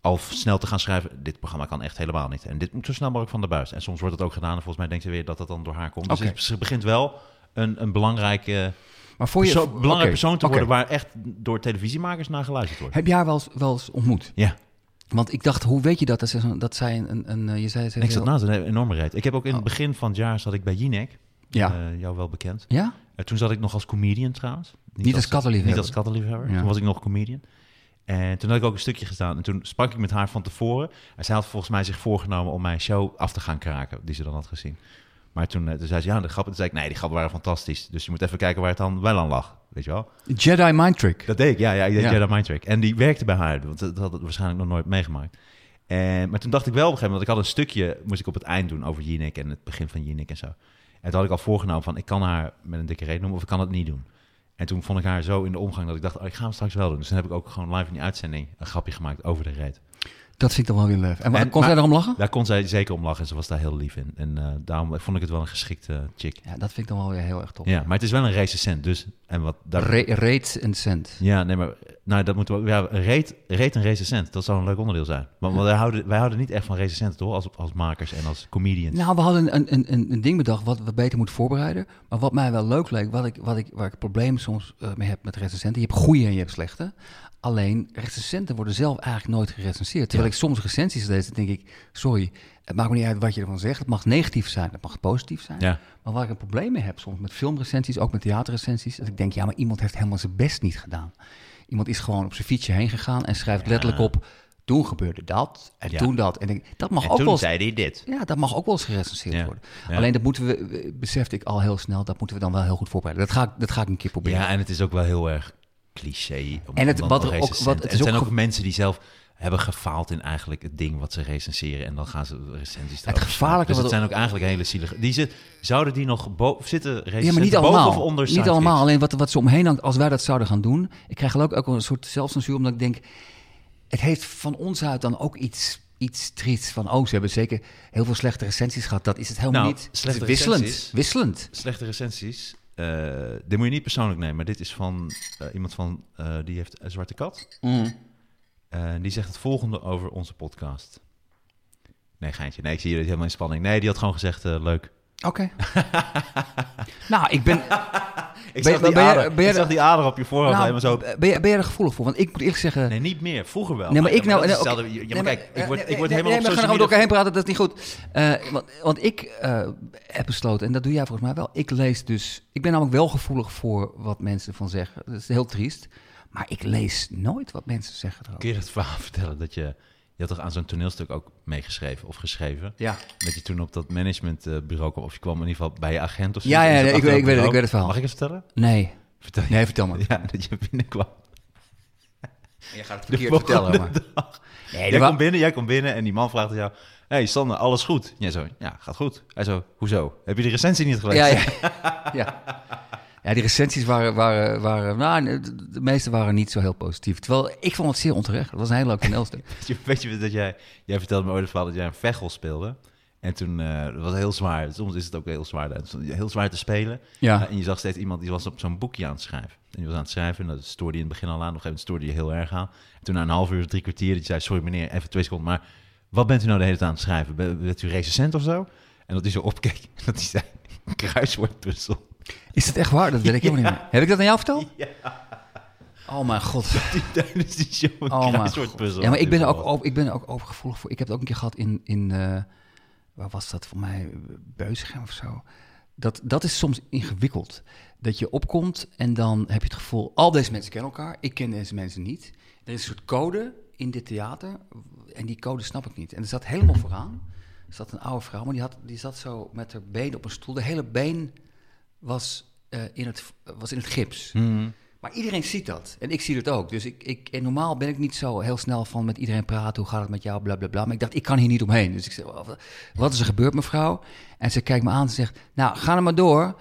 [SPEAKER 1] al snel te gaan schrijven... dit programma kan echt helemaal niet. En dit moet zo snel mogelijk van de buis. En soms wordt het ook gedaan en volgens mij denkt ze weer dat dat dan door haar komt. Dus
[SPEAKER 2] Oké.
[SPEAKER 1] het- ze begint wel een, een belangrijke,
[SPEAKER 2] Maar voor je,
[SPEAKER 1] perso-
[SPEAKER 2] oké,
[SPEAKER 1] belangrijk persoon te
[SPEAKER 2] oké.
[SPEAKER 1] worden... waar echt door televisiemakers naar geluisterd wordt.
[SPEAKER 2] Heb jij haar wel eens, wel eens ontmoet?
[SPEAKER 1] Ja.
[SPEAKER 2] Want ik dacht, hoe weet je dat? Dat, ze, zo'n- dat zij een, een, een, eh, Je zei het
[SPEAKER 1] En ik zat naast een enorme reet. Ik heb ook in het begin van het jaar zat ik bij Jinek.
[SPEAKER 2] Oh. Ja.
[SPEAKER 1] Eh, jou wel bekend.
[SPEAKER 2] Ja?
[SPEAKER 1] Eh, toen zat ik nog als comedian trouwens.
[SPEAKER 2] Niet als kattenliefhebber.
[SPEAKER 1] Niet als kattenliefhebber.
[SPEAKER 2] Ja.
[SPEAKER 1] Toen was ik nog comedian. En toen had ik ook een stukje gedaan. En toen sprak ik met haar van tevoren. En zij had volgens mij zich voorgenomen om mijn show af te gaan kraken. Die ze dan had gezien. Maar toen, eh, toen zei ze, ja, de grappen. Toen zei ik, nee, die grappen waren fantastisch. Dus je moet even kijken waar het dan wel aan lag. Weet je wel?
[SPEAKER 2] Jedi Mind Trick.
[SPEAKER 1] Dat deed ik, ja. ja ik deed
[SPEAKER 2] Ja.
[SPEAKER 1] Jedi Mind Trick. En die werkte bij haar, want dat had het waarschijnlijk nog nooit meegemaakt. En, maar toen dacht ik wel op een gegeven moment, want ik had een stukje, moest ik op het eind doen over Jinek en het begin van Jinek en zo. En toen had ik al voorgenomen van, ik kan haar met een dikke reet noemen of ik kan het niet doen. En toen vond ik haar zo in de omgang dat ik dacht, oh, ik ga hem straks wel doen. Dus toen heb ik ook gewoon live in die uitzending een grapje gemaakt over de reet.
[SPEAKER 2] Dat vind ik dan wel weer leuk. En, waar
[SPEAKER 1] En-
[SPEAKER 2] kon zij
[SPEAKER 1] maar-
[SPEAKER 2] erom lachen?
[SPEAKER 1] Daar kon zij zeker om lachen en ze was daar heel lief in. En eh, daarom vond ik het wel een geschikte eh, chick.
[SPEAKER 2] Ja, dat vind ik dan wel weer heel erg tof.
[SPEAKER 1] Ja, maar het is wel een recensent, dus... En wat, daar,
[SPEAKER 2] Re- rates en cent.
[SPEAKER 1] Ja, nee, maar nou, dat moeten we. Ja, reet, reet en recensent, dat zou een leuk onderdeel zijn. Want wij, houden, wij houden niet echt van recensenten, toch? Als, als makers en als comedians.
[SPEAKER 2] Nou, we hadden een, een, een, een ding bedacht wat we beter moeten voorbereiden. Maar wat mij wel leuk leek, wat ik, wat ik, waar ik problemen soms eh, mee heb met recensenten. Je hebt goede en je hebt slechte. Alleen, recensenten worden zelf eigenlijk nooit gerecenseerd. Terwijl
[SPEAKER 1] Ja.
[SPEAKER 2] ik soms recensies lees, dan denk ik... Sorry, het maakt me niet uit wat je ervan zegt. Het mag negatief zijn, het mag positief zijn.
[SPEAKER 1] Ja.
[SPEAKER 2] Maar waar ik een probleem mee heb soms met filmrecensies, ook met theaterrecensies, dat ik denk, ja, maar iemand heeft helemaal zijn best niet gedaan. Iemand is gewoon op zijn fietsje heen gegaan en schrijft letterlijk op, toen gebeurde dat en
[SPEAKER 1] Ja.
[SPEAKER 2] toen dat. En ik denk, dat mag
[SPEAKER 1] en
[SPEAKER 2] ook
[SPEAKER 1] toen
[SPEAKER 2] wel eens,
[SPEAKER 1] zei hij dit.
[SPEAKER 2] ja, dat mag ook wel eens gerecenseerd
[SPEAKER 1] Ja.
[SPEAKER 2] worden.
[SPEAKER 1] Ja.
[SPEAKER 2] Alleen dat moeten we, eh, besefte ik al heel snel, dat moeten we dan wel heel goed voorbereiden. Dat ga ik, dat ga ik een keer proberen.
[SPEAKER 1] Ja, en het is ook wel heel erg cliché. Om,
[SPEAKER 2] En het-
[SPEAKER 1] om dan
[SPEAKER 2] wat
[SPEAKER 1] nog
[SPEAKER 2] er ook-
[SPEAKER 1] recensent-
[SPEAKER 2] wat- het
[SPEAKER 1] en
[SPEAKER 2] is ook
[SPEAKER 1] zijn ook
[SPEAKER 2] ge-
[SPEAKER 1] mensen die zelf hebben gefaald in eigenlijk het ding wat ze recenseren. En dan gaan ze recensies erover
[SPEAKER 2] gevaarlijke
[SPEAKER 1] schrijven. Dus het
[SPEAKER 2] wat-
[SPEAKER 1] zijn ook eigenlijk hele zielige... Die zit, zouden die nog bo- zitten recensenten
[SPEAKER 2] Ja, maar niet
[SPEAKER 1] boven
[SPEAKER 2] allemaal.
[SPEAKER 1] of onder
[SPEAKER 2] niet
[SPEAKER 1] Science
[SPEAKER 2] allemaal.
[SPEAKER 1] Fiction?
[SPEAKER 2] Alleen wat, wat ze omheen hangt, als wij dat zouden gaan doen. Ik krijg er ook, ook wel een soort zelfcensuur, omdat ik denk. Het heeft van ons uit dan ook iets, iets triets van. Oh, ze hebben zeker heel veel slechte recensies gehad. Dat is het helemaal
[SPEAKER 1] Nou,
[SPEAKER 2] niet. Het is
[SPEAKER 1] slechte
[SPEAKER 2] wisselend.
[SPEAKER 1] recensies.
[SPEAKER 2] Wisselend.
[SPEAKER 1] Slechte recensies. eh, dit moet je niet persoonlijk nemen, maar dit is van eh, iemand van, eh, die heeft een zwarte kat. Eh, die zegt het volgende over onze podcast. Nee, geintje. Nee, ik zie jullie helemaal in spanning. Nee, die had gewoon gezegd, eh, leuk.
[SPEAKER 2] Oké. nou, ik ben.
[SPEAKER 1] Ik
[SPEAKER 2] Ben-
[SPEAKER 1] zag, die,
[SPEAKER 2] ben jij-
[SPEAKER 1] ader,
[SPEAKER 2] ben jij
[SPEAKER 1] ik zag
[SPEAKER 2] de-
[SPEAKER 1] die ader op Oh, je voorhoofd
[SPEAKER 2] nou,
[SPEAKER 1] helemaal zo.
[SPEAKER 2] ben, jij, ben jij er gevoelig voor? Want ik moet eerlijk zeggen.
[SPEAKER 1] Nee, niet meer. Vroeger wel.
[SPEAKER 2] Nee, maar ik nou...
[SPEAKER 1] dat is
[SPEAKER 2] nee,
[SPEAKER 1] hetzelfde.
[SPEAKER 2] oké.
[SPEAKER 1] Ja, maar
[SPEAKER 2] Nee,
[SPEAKER 1] kijk, ik word,
[SPEAKER 2] nee,
[SPEAKER 1] ik word
[SPEAKER 2] nee,
[SPEAKER 1] helemaal
[SPEAKER 2] nee,
[SPEAKER 1] op
[SPEAKER 2] We
[SPEAKER 1] social
[SPEAKER 2] gaan er
[SPEAKER 1] media...
[SPEAKER 2] door elkaar heen praten, dat is niet goed. Eh, want, want ik eh, heb besloten, en dat doe jij volgens mij wel, ik lees dus... Ik ben namelijk wel gevoelig voor wat mensen ervan zeggen. Dat is heel triest. Maar ik lees nooit wat mensen zeggen erover.
[SPEAKER 1] Kun je dat verhaal vertellen? Dat je, je had toch aan zo'n toneelstuk ook meegeschreven of geschreven?
[SPEAKER 2] Ja.
[SPEAKER 1] Dat je toen op dat managementbureau kwam. Of je kwam in ieder geval bij je agent of zo.
[SPEAKER 2] Ja, ja,
[SPEAKER 1] Je zat
[SPEAKER 2] nee, ik
[SPEAKER 1] achter
[SPEAKER 2] weet-
[SPEAKER 1] dat
[SPEAKER 2] ik weet het,
[SPEAKER 1] bureau.
[SPEAKER 2] ik weet het verhaal.
[SPEAKER 1] Mag ik het vertellen?
[SPEAKER 2] Nee.
[SPEAKER 1] Vertel je.
[SPEAKER 2] Nee, vertel maar.
[SPEAKER 1] Ja, dat je binnenkwam.
[SPEAKER 2] Je gaat het
[SPEAKER 1] verkeerd vertellen, maar-
[SPEAKER 2] Nee,
[SPEAKER 1] jij
[SPEAKER 2] er wa-
[SPEAKER 1] komt binnen, jij komt binnen en die man vraagt aan jou... hey Sander, alles goed? Jij zo, ja, gaat goed. Hij zo, hoezo? Heb je de recensie niet gelezen?
[SPEAKER 2] Ja, ja. ja. Ja, die recensies waren, waren, waren nou, de- de meeste waren niet zo heel positief. Terwijl, ik vond het zeer onterecht. Dat was een heel leuk toneelstuk.
[SPEAKER 1] Je- Weet je dat jij... Jij vertelde me ooit het verhaal dat jij een vechel speelde. En toen, eh dat was heel zwaar. Soms is het ook heel zwaar. Het is Heel zwaar te spelen.
[SPEAKER 2] Ja.
[SPEAKER 1] Eh, en je zag steeds iemand die was op zo'n boekje aan het schrijven. En die was aan het schrijven en dat stoorde je in het begin al aan. Op een gegeven moment stoorde je heel erg aan. En toen na een half uur, drie kwartier, dat je zei... Sorry meneer, even twee seconden, maar... Wat bent u nou de hele tijd aan het schrijven? Ben- Bent u recensent of zo? En dat hij zo opkeek en dat hij zei... Kruiswoordpuzzel.
[SPEAKER 2] Is dat echt waar? Dat weet ik helemaal niet meer. Heb ik dat aan jou verteld? Oh mijn god.
[SPEAKER 1] Die tijdens die show een
[SPEAKER 2] Oh mijn
[SPEAKER 1] kruiswoordpuzzel
[SPEAKER 2] Ja, maar ik ben, er
[SPEAKER 1] had
[SPEAKER 2] ook, over- ik ben er ook overgevoelig voor. Ik heb het ook een keer gehad in, in eh, waar was dat voor mij? Beuzegem of zo. Dat, dat is soms ingewikkeld. Dat je opkomt en dan heb je het gevoel, al deze mensen kennen elkaar. Ik ken deze mensen niet. Er is een soort code in dit theater en die code snap ik niet. En er zat helemaal vooraan, er zat een oude vrouw, maar die, had, die zat zo met haar been op een stoel. De hele been was, eh, in, het, was in het gips. Maar iedereen ziet dat. En ik zie het ook. Dus ik, ik, en normaal ben ik niet zo heel snel van met iedereen praten. Hoe gaat het met jou? Bla bla bla. Maar ik dacht, ik kan hier niet omheen. Dus ik zeg, "Wa- wat is er gebeurd, mevrouw? En ze kijkt me aan en ze zegt, nou, ga er maar door.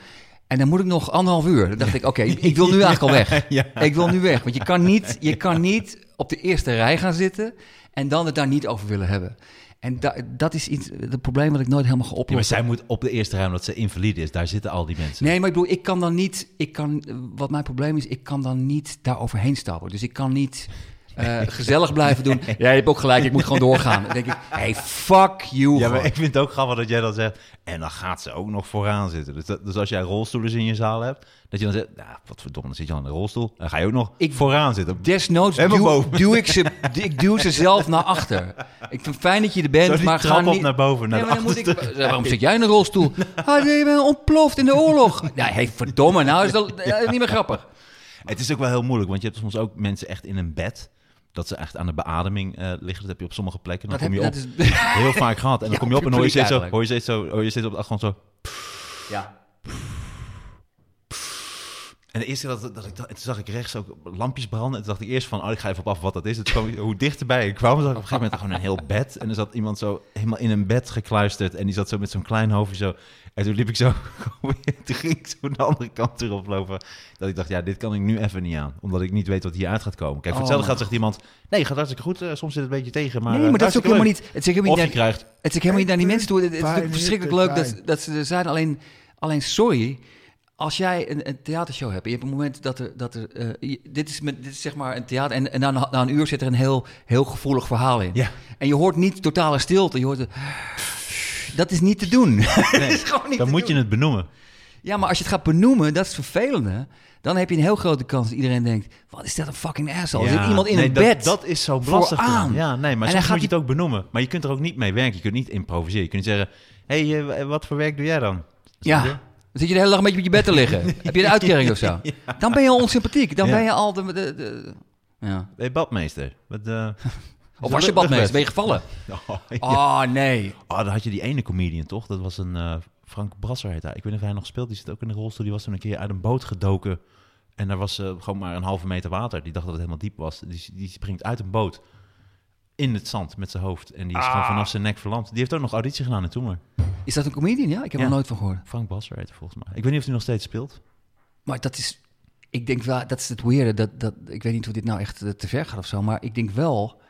[SPEAKER 2] En dan moet ik nog anderhalf uur. Dan dacht ik, oké, ik wil nu eigenlijk al weg. Ik wil nu weg. Want je kan, niet, je kan niet op de eerste rij gaan zitten en dan het daar niet over willen hebben. En da- dat is iets, het probleem wat ik nooit helemaal geoplost
[SPEAKER 1] Ja, maar
[SPEAKER 2] heb.
[SPEAKER 1] zij moet op de eerste rij, omdat ze invalide is. Daar zitten al die mensen.
[SPEAKER 2] Nee, maar ik bedoel, ik kan dan niet. Ik kan, wat mijn probleem is, ik kan dan niet daar overheen stappen. Dus ik kan niet. eh, eh, gezellig blijven doen. Ja, je hebt ook gelijk, ik moet gewoon doorgaan. Dan denk ik, hey, fuck you.
[SPEAKER 1] Ja, maar
[SPEAKER 2] gewoon.
[SPEAKER 1] ik vind het ook grappig dat jij dan zegt. En dan gaat ze ook nog vooraan zitten. Dus, dat- dus als jij rolstoelers in je zaal hebt, dat je dan zegt. Nou, wat verdomme, dan zit je al in de rolstoel. Dan ga je ook nog
[SPEAKER 2] Ik-
[SPEAKER 1] vooraan zitten.
[SPEAKER 2] Desnoods
[SPEAKER 1] Helemaal
[SPEAKER 2] duw,
[SPEAKER 1] boven.
[SPEAKER 2] duw ik ze, ik duw ze zelf naar achter. Ik vind fijn dat je er bent,
[SPEAKER 1] Zo die
[SPEAKER 2] maar
[SPEAKER 1] trap
[SPEAKER 2] ga
[SPEAKER 1] op
[SPEAKER 2] niet...
[SPEAKER 1] naar boven, naar Nou.
[SPEAKER 2] Nee,
[SPEAKER 1] de
[SPEAKER 2] maar dan moet ik, waarom zit jij in een rolstoel? Ah, nee, je bent ontploft in de oorlog. Ja, hey, verdomme, nou is dat eh, niet meer grappig.
[SPEAKER 1] Het is ook wel heel moeilijk, want je hebt soms ook mensen echt in een bed. Dat ze echt aan de beademing eh, liggen. Dat heb je op sommige plekken. Dan
[SPEAKER 2] Dat
[SPEAKER 1] kom je
[SPEAKER 2] heb-
[SPEAKER 1] op.
[SPEAKER 2] dat
[SPEAKER 1] Heel vaak gehad. En dan
[SPEAKER 2] Ja,
[SPEAKER 1] kom je op en hoor je steeds
[SPEAKER 2] publiek
[SPEAKER 1] zo.
[SPEAKER 2] eigenlijk.
[SPEAKER 1] Hoor je steeds zo. Hoor je steeds op de achtergrond zo.
[SPEAKER 2] Ja.
[SPEAKER 1] En de eerste keer dat, dat ik dat, en toen zag ik rechts ook lampjes branden. En toen dacht ik eerst van, oh, ik ga even op af wat dat is. Het kwam, hoe dichterbij ik kwam, zag ik op een gegeven moment gewoon een heel bed. En er zat iemand zo helemaal in een bed gekluisterd. En die zat zo met zo'n klein hoofdje zo. En toen liep ik zo, toen ging ik zo de andere kant erop lopen. Dat ik dacht, ja, dit kan ik nu even niet aan. Omdat ik niet weet wat hieruit gaat komen. Kijk, voor
[SPEAKER 2] Oh,
[SPEAKER 1] hetzelfde gaat
[SPEAKER 2] man.
[SPEAKER 1] zegt iemand, nee, gaat hartstikke goed. eh, soms zit het een beetje tegen, maar...
[SPEAKER 2] nee,
[SPEAKER 1] eh,
[SPEAKER 2] maar dat is ook
[SPEAKER 1] hartstikke
[SPEAKER 2] helemaal
[SPEAKER 1] leuk.
[SPEAKER 2] niet... Het is ook helemaal
[SPEAKER 1] Of
[SPEAKER 2] niet
[SPEAKER 1] je krijgt,
[SPEAKER 2] Het is ook helemaal niet naar die
[SPEAKER 3] Hey,
[SPEAKER 2] mensen toe. Het het is
[SPEAKER 3] pijn,
[SPEAKER 2] natuurlijk verschrikkelijk
[SPEAKER 3] hitte,
[SPEAKER 2] leuk dat,
[SPEAKER 3] pijn.
[SPEAKER 2] dat ze er zijn. Alleen, alleen sorry, als jij een, een theatershow hebt... en je hebt een moment dat er... Dat er eh, je- dit, is met, dit is zeg maar een theater... en, en na, een- na een uur zit er een heel, heel gevoelig verhaal in.
[SPEAKER 1] Ja.
[SPEAKER 2] En je hoort niet totale stilte. Je hoort... een- Dat is niet te doen. dat is gewoon niet
[SPEAKER 1] dan
[SPEAKER 2] te
[SPEAKER 1] moet je
[SPEAKER 2] doen.
[SPEAKER 1] het benoemen.
[SPEAKER 2] Ja, maar als je het gaat benoemen, dat is het vervelende. Dan heb je een heel grote kans dat iedereen denkt... wat is dat een fucking asshole? Er
[SPEAKER 1] Ja,
[SPEAKER 2] zit iemand in
[SPEAKER 1] nee,
[SPEAKER 2] een
[SPEAKER 1] dat-
[SPEAKER 2] bed.
[SPEAKER 1] Dat, is zo lastig.
[SPEAKER 2] vooraan.
[SPEAKER 1] dan. Ja, nee, maar
[SPEAKER 2] En
[SPEAKER 1] soms
[SPEAKER 2] dan
[SPEAKER 1] moet
[SPEAKER 2] gaat
[SPEAKER 1] je het ook benoemen. Maar je kunt er ook niet mee werken. Je kunt niet improviseren. Je kunt niet zeggen, hé, hey, eh, wat voor werk doe jij dan?
[SPEAKER 2] Ja.
[SPEAKER 1] Snap je?
[SPEAKER 2] Dan zit je de hele dag een beetje op je bed te liggen. Heb je een uitkering of zo? Dan ben je al onsympathiek. Dan
[SPEAKER 1] Ja.
[SPEAKER 2] ben je al de... de, de- ja.
[SPEAKER 1] Hey, badmeester. Wat, eh, is
[SPEAKER 2] Of
[SPEAKER 1] dat
[SPEAKER 2] was je
[SPEAKER 1] een
[SPEAKER 2] badmeester? Ben je
[SPEAKER 1] luchtbed?
[SPEAKER 2] gevallen?
[SPEAKER 1] Oh, ja.
[SPEAKER 2] Oh, nee.
[SPEAKER 1] Oh, dan had je die ene comedian, toch? Dat was een eh, Frank Brasser heet hij. Ik weet niet of hij nog speelt. Die zit ook in de rolstoel. Die was toen een keer uit een boot gedoken. En daar was eh, gewoon maar een halve meter water. Die dacht dat het helemaal diep was. Die, die springt uit een boot. In het zand met zijn hoofd. En die
[SPEAKER 2] Ah.
[SPEAKER 1] is gewoon vanaf zijn nek verlamd. Die heeft ook nog auditie gedaan in Toemer.
[SPEAKER 2] Is dat een comedian? Ja, ik heb
[SPEAKER 1] Ja.
[SPEAKER 2] er nooit van gehoord.
[SPEAKER 1] Frank Brasser heet hij volgens mij. Ik weet niet of hij nog steeds speelt.
[SPEAKER 2] Maar dat is... Ik denk wel... Dat is het weirde. Dat, dat, ik weet niet hoe dit nou echt eh, te ver gaat of zo. Maar ik denk wel...